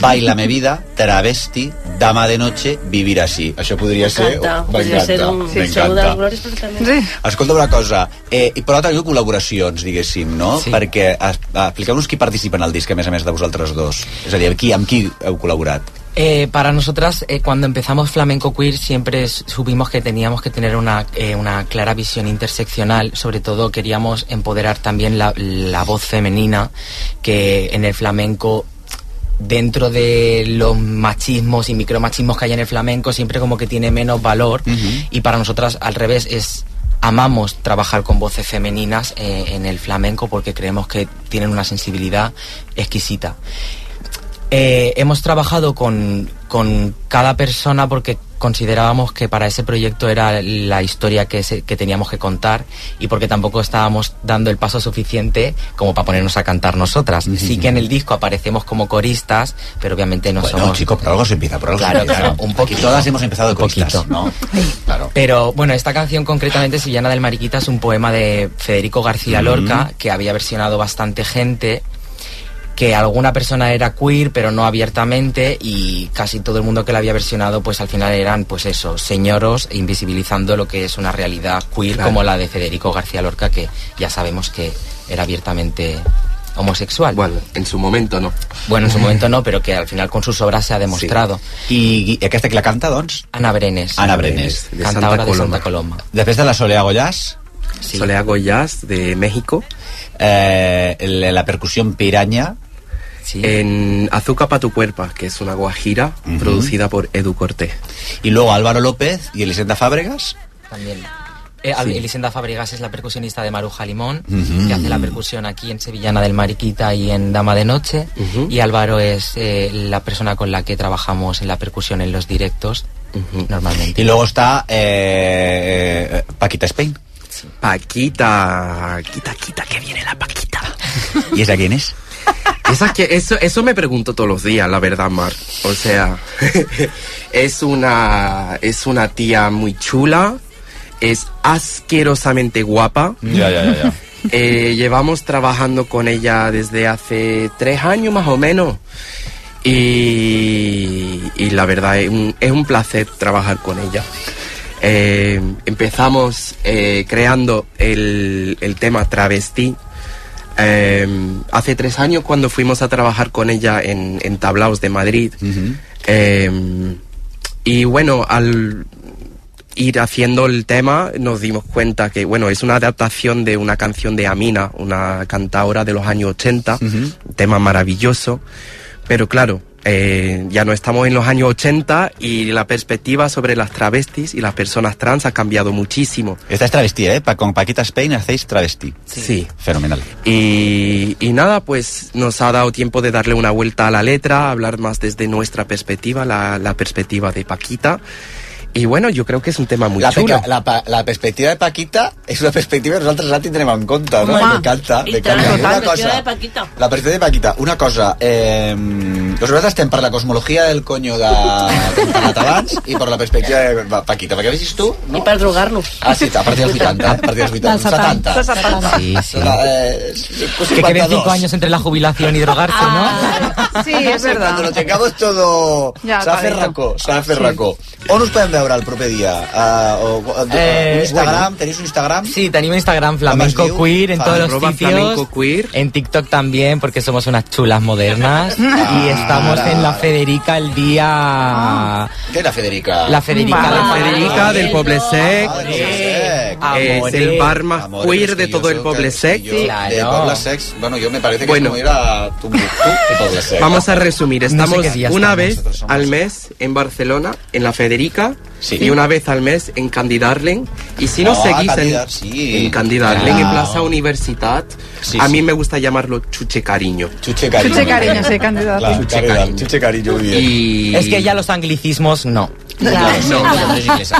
S4: Baila me vida. Travesti. Dama de noche, vivir así. Això podria ser...
S8: M'encanta, podria
S4: eh? M'encanta,
S8: ser un sí, show de
S4: m'encanta.
S8: glòries, però també...
S12: Sí.
S4: Escolta una cosa, eh, i però també col·laboracions, diguéssim, no? Sí. Perquè es- expliqueu-nos qui participa en el disc, a més a més de vosaltres dos. És a dir, qui, amb qui heu col·laborat?
S21: Eh, para nosotras, eh, cuando empezamos Flamenco Queer, siempre s- supimos que teníamos que tener una, eh, una clara visión interseccional. Sobre todo, queríamos empoderar también la, la voz femenina, que en el flamenco, dentro de los machismos y micromachismos que hay en el flamenco, siempre como que tiene menos valor. Y para nosotras, al revés, es. Amamos trabajar con voces femeninas eh, en el flamenco porque creemos que tienen una sensibilidad exquisita. Eh, hemos trabajado con, con cada persona porque considerábamos que para ese proyecto era la historia que, se- que teníamos que contar y porque tampoco estábamos dando el paso suficiente como para ponernos a cantar nosotras. Sí que en el disco aparecemos como coristas, pero obviamente no
S4: Bueno,
S21: somos...
S4: chico, por algo se empieza, por algo se
S21: claro,
S4: empieza.
S21: Claro, un
S4: Aquí
S21: poquito.
S4: todas hemos empezado de
S21: Un poquito.
S4: coristas, ¿no?
S21: Pero bueno, esta canción concretamente, Sillana del Mariquita, es un poema de Federico García
S4: Ujú.
S21: Lorca que había versionado bastante gente. Que alguna persona era queer, pero no abiertamente, y casi todo el mundo que la había versionado, pues al final eran, pues eso, señoros invisibilizando lo que es una realidad queer Claro. como la de Federico García Lorca, que ya sabemos que era abiertamente homosexual. Bueno, en su momento no. Bueno, <laughs> en su momento no, pero que al final con sus obras se ha demostrado.
S4: I, i aquesta que la canta, doncs?
S21: Ana Brenes.
S4: Ana Brenes.
S21: De Cantaora Santa de Coloma. Santa Coloma.
S4: Després de la Solea Goyás.
S21: Sí.
S4: Solea Goyás, de México. Eh, la, la percusión piraña.
S20: En Azúcar para tu cuerpo, que es una guajira producida por Edu Cortés.
S4: Y luego Álvaro López y Elisenda Fábregas.
S21: También. Eh,
S4: Sí.
S21: Elisenda Fabregas es la percusionista de Maruja Limón,
S4: Ujú.
S21: que hace la percusión aquí en Sevillana del Mariquita y en Dama de Noche. Y Álvaro es eh, la persona con la que trabajamos en la percusión en los directos, normalmente.
S4: Y luego está eh, eh, Paquita Spain.
S20: Paquita, quita, quita, que viene la Paquita.
S4: ¿Y esa quién es?
S20: Esa que, eso, eso me pregunto todos los días, la verdad, Mar. O sea, <laughs> es una, es una tía muy chula, es asquerosamente guapa.
S4: Ya, ya, ya, ya.
S20: Eh, llevamos trabajando con ella desde hace tres años más o menos. Y, y la verdad es un, es un placer trabajar con ella. Eh, empezamos eh, creando el, el tema travesti. Eh, hace tres años cuando fuimos a trabajar con ella en, en Tablaos de Madrid. Eh, y bueno, al ir haciendo el tema nos dimos cuenta que, bueno, es una adaptación de una canción de Amina, una cantaora de los años 80, un tema maravilloso, pero claro, eh, ya no estamos en los años 80 y la perspectiva sobre las travestis y las personas trans ha cambiado muchísimo.
S4: Esta es travesti, ¿eh? Pa- con Paquita Spain hacéis travesti.
S20: sí.
S4: Fenomenal.
S20: Y, y nada, pues nos ha dado tiempo de darle una vuelta a la letra, hablar más desde nuestra perspectiva, la, la perspectiva de Paquita. Y bueno, yo creo que es un tema muy
S4: La,
S20: chulo.
S4: peca- la pa- la perspectiva de Paquita es una perspectiva que nosaltres ara tindrem en compte,
S8: Home.
S4: no? Me encanta,
S8: I
S4: me
S8: tant,
S4: encanta. Una
S8: la cosa...
S4: cosa,
S8: de Paquita.
S4: La perspectiva de Paquita, una cosa, eh, nosaltres estem per la cosmologia del conyo de, que hem parlat abans i per la perspectiva de Pa- Paquita, perquè vegis tu... No? I per drogar-nos. Ah, sí, a partir dels 80, eh? a partir dels 80,
S21: Dels 70.
S4: 70.
S21: Sí, sí.
S4: Eh,
S21: Que queden
S4: 52.
S21: cinco años entre la jubilación y drogarse, ¿no?
S12: Sí, és verdad.
S4: Cuando lo tengamos todo...
S12: Ja,
S4: S'ha
S12: vale.
S4: fet racó, s'ha
S21: Ah,
S4: fet racó. On us podem veure el proper dia? Uh, o, eh, un Instagram?
S21: ¿Tenéis un Instagram? Sí, tenemos Instagram, Flamenco
S4: Además,
S21: Queer, en
S4: Fla-
S21: todos los
S4: arroba
S21: sitios.
S4: Flamenco
S21: En TikTok también, porque somos unas chulas modernas. y estamos en la Federica el día...
S4: ¿Qué es la Federica?
S21: La Federica.
S20: La Federica del Poble Sec.
S4: Eh, Amores.
S20: Es el bar más
S4: Amores,
S20: queer de
S4: que yo
S20: todo el
S4: soy
S20: Poble Sec.
S4: De Pobla Sex, bueno, yo me parece que
S20: Bueno.
S4: es como ir a Tumbuctú de Pobla Sex.
S20: Vamos a resumir.
S4: No sé
S20: Estamos
S4: qué día
S20: una
S4: estamos,
S20: vez
S4: nosotros somos.
S20: al mes en Barcelona, en la Federica,
S4: Sí.
S20: y una vez al mes en Candy Darling. Y si nos
S4: Ah,
S20: seguís
S4: Candidar,
S20: en,
S4: sí.
S20: en Candy Darling, en
S4: Claro.
S20: Plaza Universidad, a mí me gusta llamarlo Chuche Cariño.
S4: Chuche
S12: Chuche cariño, sí, candidato.
S20: Claro,
S12: Sí.
S20: Chuche Cariño.
S4: Chuche Cariño, muy
S20: bien. Y...
S21: Es que ya los anglicismos no.
S20: No,
S4: No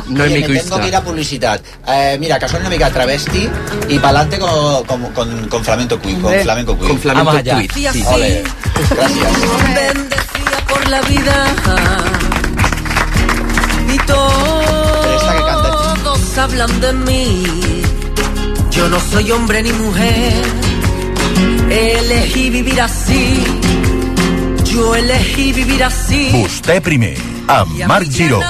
S20: no es mi
S4: me tengo
S20: cristán.
S4: que ir a publicidad. Eh, mira, que soy una mica travesti y pa'lante con, con, con, con flamenco queer, con
S13: Hombre.
S4: flamenco queer.
S20: Con flamenco
S4: Vamos allá.
S20: queer,
S13: Y así,
S4: Ole.
S13: bendecida por la vida. Y todos hablan de mí. Yo no soy hombre ni mujer. Elegí vivir así. Yo elegí vivir así.
S7: Vostè primer. amb Marc Giró.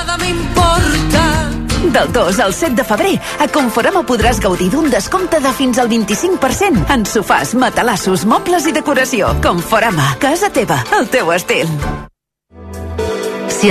S13: Del 2 al 7 de febrer, a Conforama podràs gaudir d'un descompte de fins al 25% en sofàs, matalassos, mobles i decoració. Conforama, casa teva, el teu estil.
S22: Si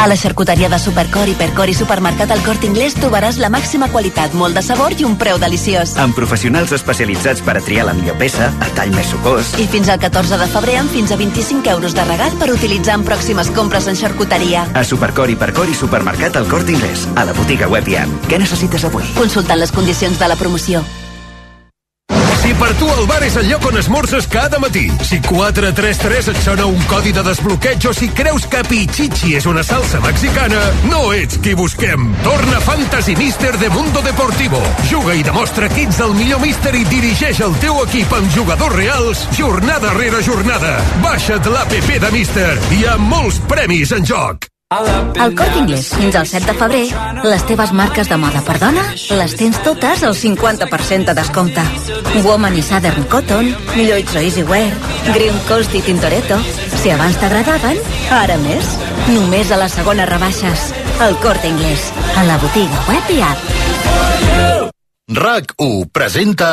S15: A la xarcuteria de Supercor, Hipercor i Supermercat El Corte Inglés trobaràs la màxima qualitat, molt de sabor i un preu deliciós.
S23: Amb professionals especialitzats per a triar la millor peça, el tall més sucós...
S15: I fins al 14 de febrer amb fins a 25 euros de regal per utilitzar en pròximes compres en xarcuteria.
S23: A Supercor, Hipercor i Supermercat El Corte Inglés, a la botiga web i app. Què necessites avui?
S15: Consultant les condicions de la promoció.
S24: Si per tu el bar és el lloc on esmorzes cada matí, si 433 et sona un codi de desbloqueig o si creus que Pichichi és una salsa mexicana, no ets qui busquem. Torna Fantasy Mister de Mundo Deportivo. Juga i demostra que ets el millor míster i dirigeix el teu equip amb jugadors reals jornada rere jornada. Baixa't l'APP de Mister. Hi ha molts premis en joc.
S22: Al Corte Inglés, fins al 7 de febrer, les teves marques de moda per dona les tens totes al 50% de descompte. Woman i Southern Cotton, Lloyds o Easywear, Green Coast i Tintoretto. Si abans t'agradaven, ara més. Només a les segones rebaixes. Al Corte Inglés, a la botiga web i app.
S7: RAC1 presenta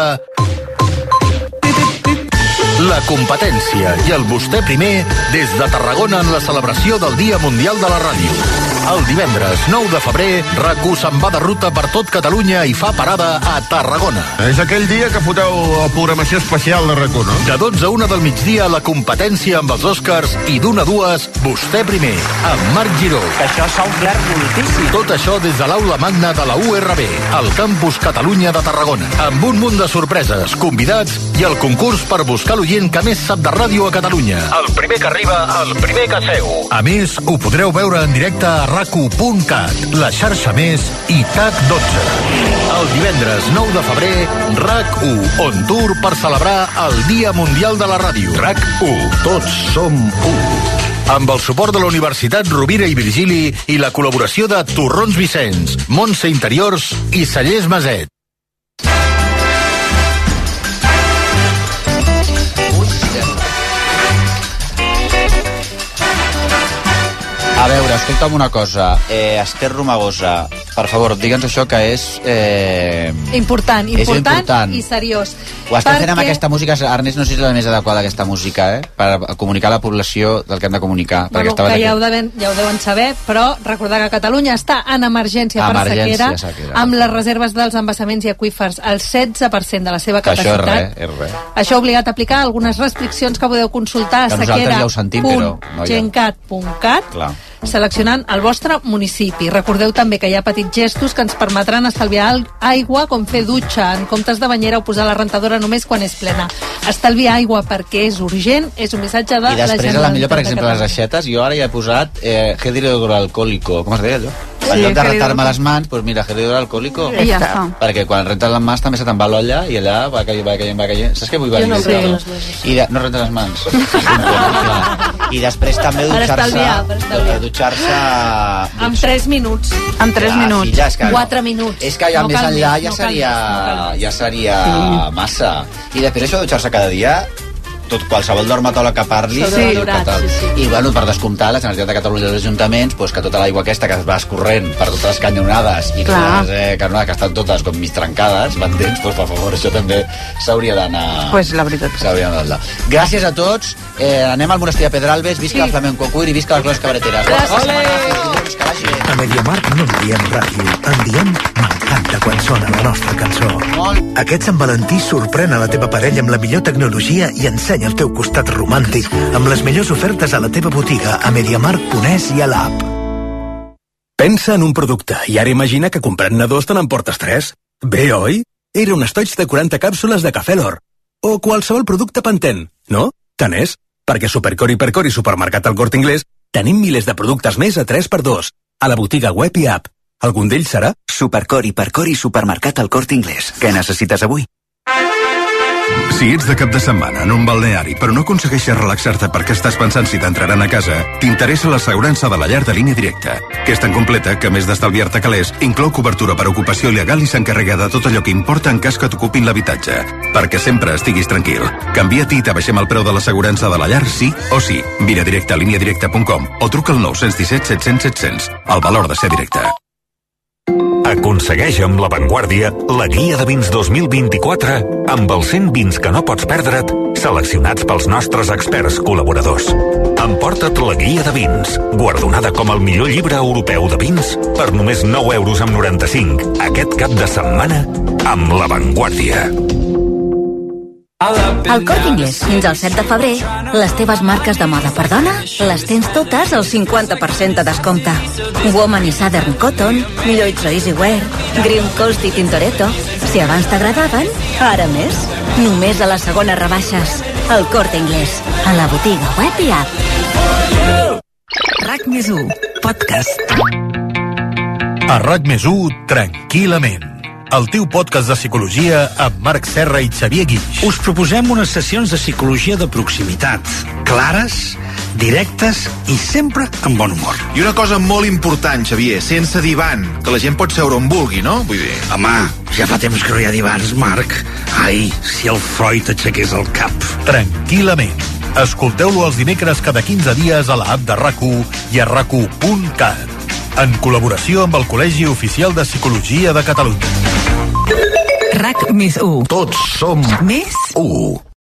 S7: la competència i el vostè primer des de Tarragona en la celebració del Dia Mundial de la Ràdio. El divendres 9 de febrer, RAC1 se'n va de ruta per tot Catalunya i fa parada a Tarragona.
S14: És aquell dia que foteu la programació especial de rac eh? no?
S7: De 12 a 1 del migdia, la competència amb els Oscars i d'una a dues, vostè primer, amb Marc Giró. Que això s'ha omplert moltíssim. Tot això des de l'aula magna de la URB, al campus Catalunya de Tarragona, amb un munt de sorpreses, convidats i el concurs per buscar l'oient que més sap de ràdio a Catalunya.
S24: El primer que arriba, el primer que seu.
S7: A més, ho podreu veure en directe a racu.cat, la xarxa més i TAC12. El divendres 9 de febrer, RAC1 on tour per celebrar el Dia Mundial de la Ràdio. RAC1, tots som u. Amb el suport de la Universitat Rovira i Virgili i la col·laboració de Torrons Vicenç, Montse Interiors i Cellers Maset.
S4: A veure, escolta'm una cosa. Eh, Esther Romagosa, per favor, digue'ns això que és... Eh...
S11: Important,
S4: És
S11: important,
S4: important.
S11: i seriós.
S4: Ho estem fent amb aquesta música. Ernest, no sé si és la més adequada, aquesta música, eh? Per comunicar a la població del que hem de comunicar. perquè
S11: Bueno,
S4: estava
S11: que
S4: aquí.
S11: ja ho, deuen, ja ho deuen saber, però recordar que Catalunya està en emergència,
S4: Emergència,
S11: per sequera,
S4: sequera.
S11: amb les reserves dels embassaments i aquífers al 16% de la seva
S4: Que això és
S11: capacitat.
S4: res, és res.
S11: Això ha obligat a aplicar algunes restriccions que podeu consultar
S4: Que
S11: a
S4: nosaltres ja ho sentim, però no hi ha.
S11: sequera.gencat.cat
S4: Clar.
S11: seleccionant el vostre municipi. Recordeu també que hi ha petits gestos que ens permetran estalviar al- aigua com fer dutxa en comptes de banyera o posar la rentadora només quan és plena. Estalviar aigua perquè és urgent és un missatge de la
S4: I després, a la
S11: Generalitat
S4: millor, per
S11: de
S4: exemple,
S11: Catalunya.
S4: les aixetes, jo ara ja he posat eh, gel hidroalcohòlico. Com es deia allò?
S11: Sí,
S4: en lloc de
S11: gel
S4: rentar-me les mans, doncs mira, gel hidroalcohòlico.
S11: I ja està.
S4: Perquè quan rentes les mans també se te'n va l'olla i allà va caient, va caient, va caient. Saps què vull venir?
S11: Jo no em rento les
S4: I de... no rentes les
S11: <laughs>
S4: mans. I després també
S11: Per
S4: dutxar-se...
S11: estalviar, per estalviar.
S4: Dutxar-se...
S11: En 3 minuts.
S12: En
S4: 3 Ja, minuts. Ah, sí, ja és que no.
S11: 4 minuts.
S4: És que ja no més
S11: cal
S4: enllà
S11: més,
S4: ja
S11: no cal
S4: seria, ja seria
S11: Sí.
S4: massa. I després això de dutxar-se cada dia, tot qualsevol dermatòleg que parli...
S11: Sobrevalorat,
S4: que tal. I, bueno, per descomptar, la Generalitat de Catalunya i els ajuntaments, doncs, que tota l'aigua aquesta que es va escorrent per totes les canyonades i totes
S12: Clar.
S4: les eh, canonades que estan totes com mig trencades, m'entens? Doncs, per favor, això també s'hauria d'anar...
S12: Pues la veritat.
S4: S'hauria d'anar. Gràcies a tots. Eh, anem al monestir de Pedralbes. Visca sí. el flamenco cuir i visca les glòries cabareteres. Gràcies.
S25: A Mediamart no en diem ràdio, en diem m'encanta quan sona la nostra cançó. Aquest Sant Valentí sorprèn a la teva parella amb la millor tecnologia i ensenya el teu costat romàntic amb les millors ofertes a la teva botiga, a Mediamart.es i a l'app.
S26: Pensa en un producte i ara imagina que comprant-ne dos te n'emportes tres. Bé, oi? Era un estoig de 40 càpsules de cafè l'or. O qualsevol producte Pantene, no? Tant és, perquè a Supercor i Percor i Supermercat al Corte Inglés tenim milers de productes més a 3x2, a la botiga web i app. Algun d'ells serà?
S24: Supercor, Hipercor i Supermercat El Corte Inglés. Què necessites avui?
S27: Si
S7: Si ets de cap de setmana en un balneari però no aconsegueixes relaxar-te perquè estàs pensant si t'entraran a casa, t'interessa l'assegurança de la llar de línia directa, que és tan completa que, a més d'estalviar-te calés, inclou cobertura per ocupació il·legal i s'encarrega de tot allò que importa en cas que t'ocupin l'habitatge, perquè sempre estiguis tranquil. Canvia-t'hi i t'abaixem el preu de l'assegurança de la llar sí o sí. Vine a directe a líniadirecta.com o truca al 917 700 700. El valor de ser directe.
S28: Aconsegueix amb La Vanguardia la guia de vins 2024 amb els 100 vins que no pots perdre't seleccionats pels nostres experts col·laboradors. Emporta't la guia de vins, guardonada com el millor llibre europeu de vins per només 9 euros amb 95 aquest cap de setmana amb La Vanguardia.
S22: Al Corte Inglés, fins al 7 de febrer, les teves marques de moda per dona les tens totes al 50% de descompte. Woman i Southern Cotton, Lloyds Easy Wear, Grim Coast i Tintoretto. Si abans t'agradaven, ara més. Només a les segones rebaixes. Al Corte Inglés, a la botiga web i app.
S29: RAC més 1, podcast.
S1: A RAC més 1, tranquil·lament. El teu podcast de psicologia amb Marc Serra i Xavier Guix.
S30: Us proposem unes sessions de psicologia de proximitat, clares, directes i sempre amb bon humor.
S31: I una cosa molt important, Xavier, sense divan, que la gent pot seure on vulgui, no? Vull dir...
S30: Home, ja fa temps que no hi ha divans, Marc. Ai, si el Freud aixequés el cap.
S1: Tranquil·lament. Escolteu-lo els dimecres cada 15 dies a la app de rac i a rac en col·laboració amb el Col·legi Oficial de Psicologia de Catalunya.
S29: RAC més 1.
S1: Tots som
S29: Més
S1: 1.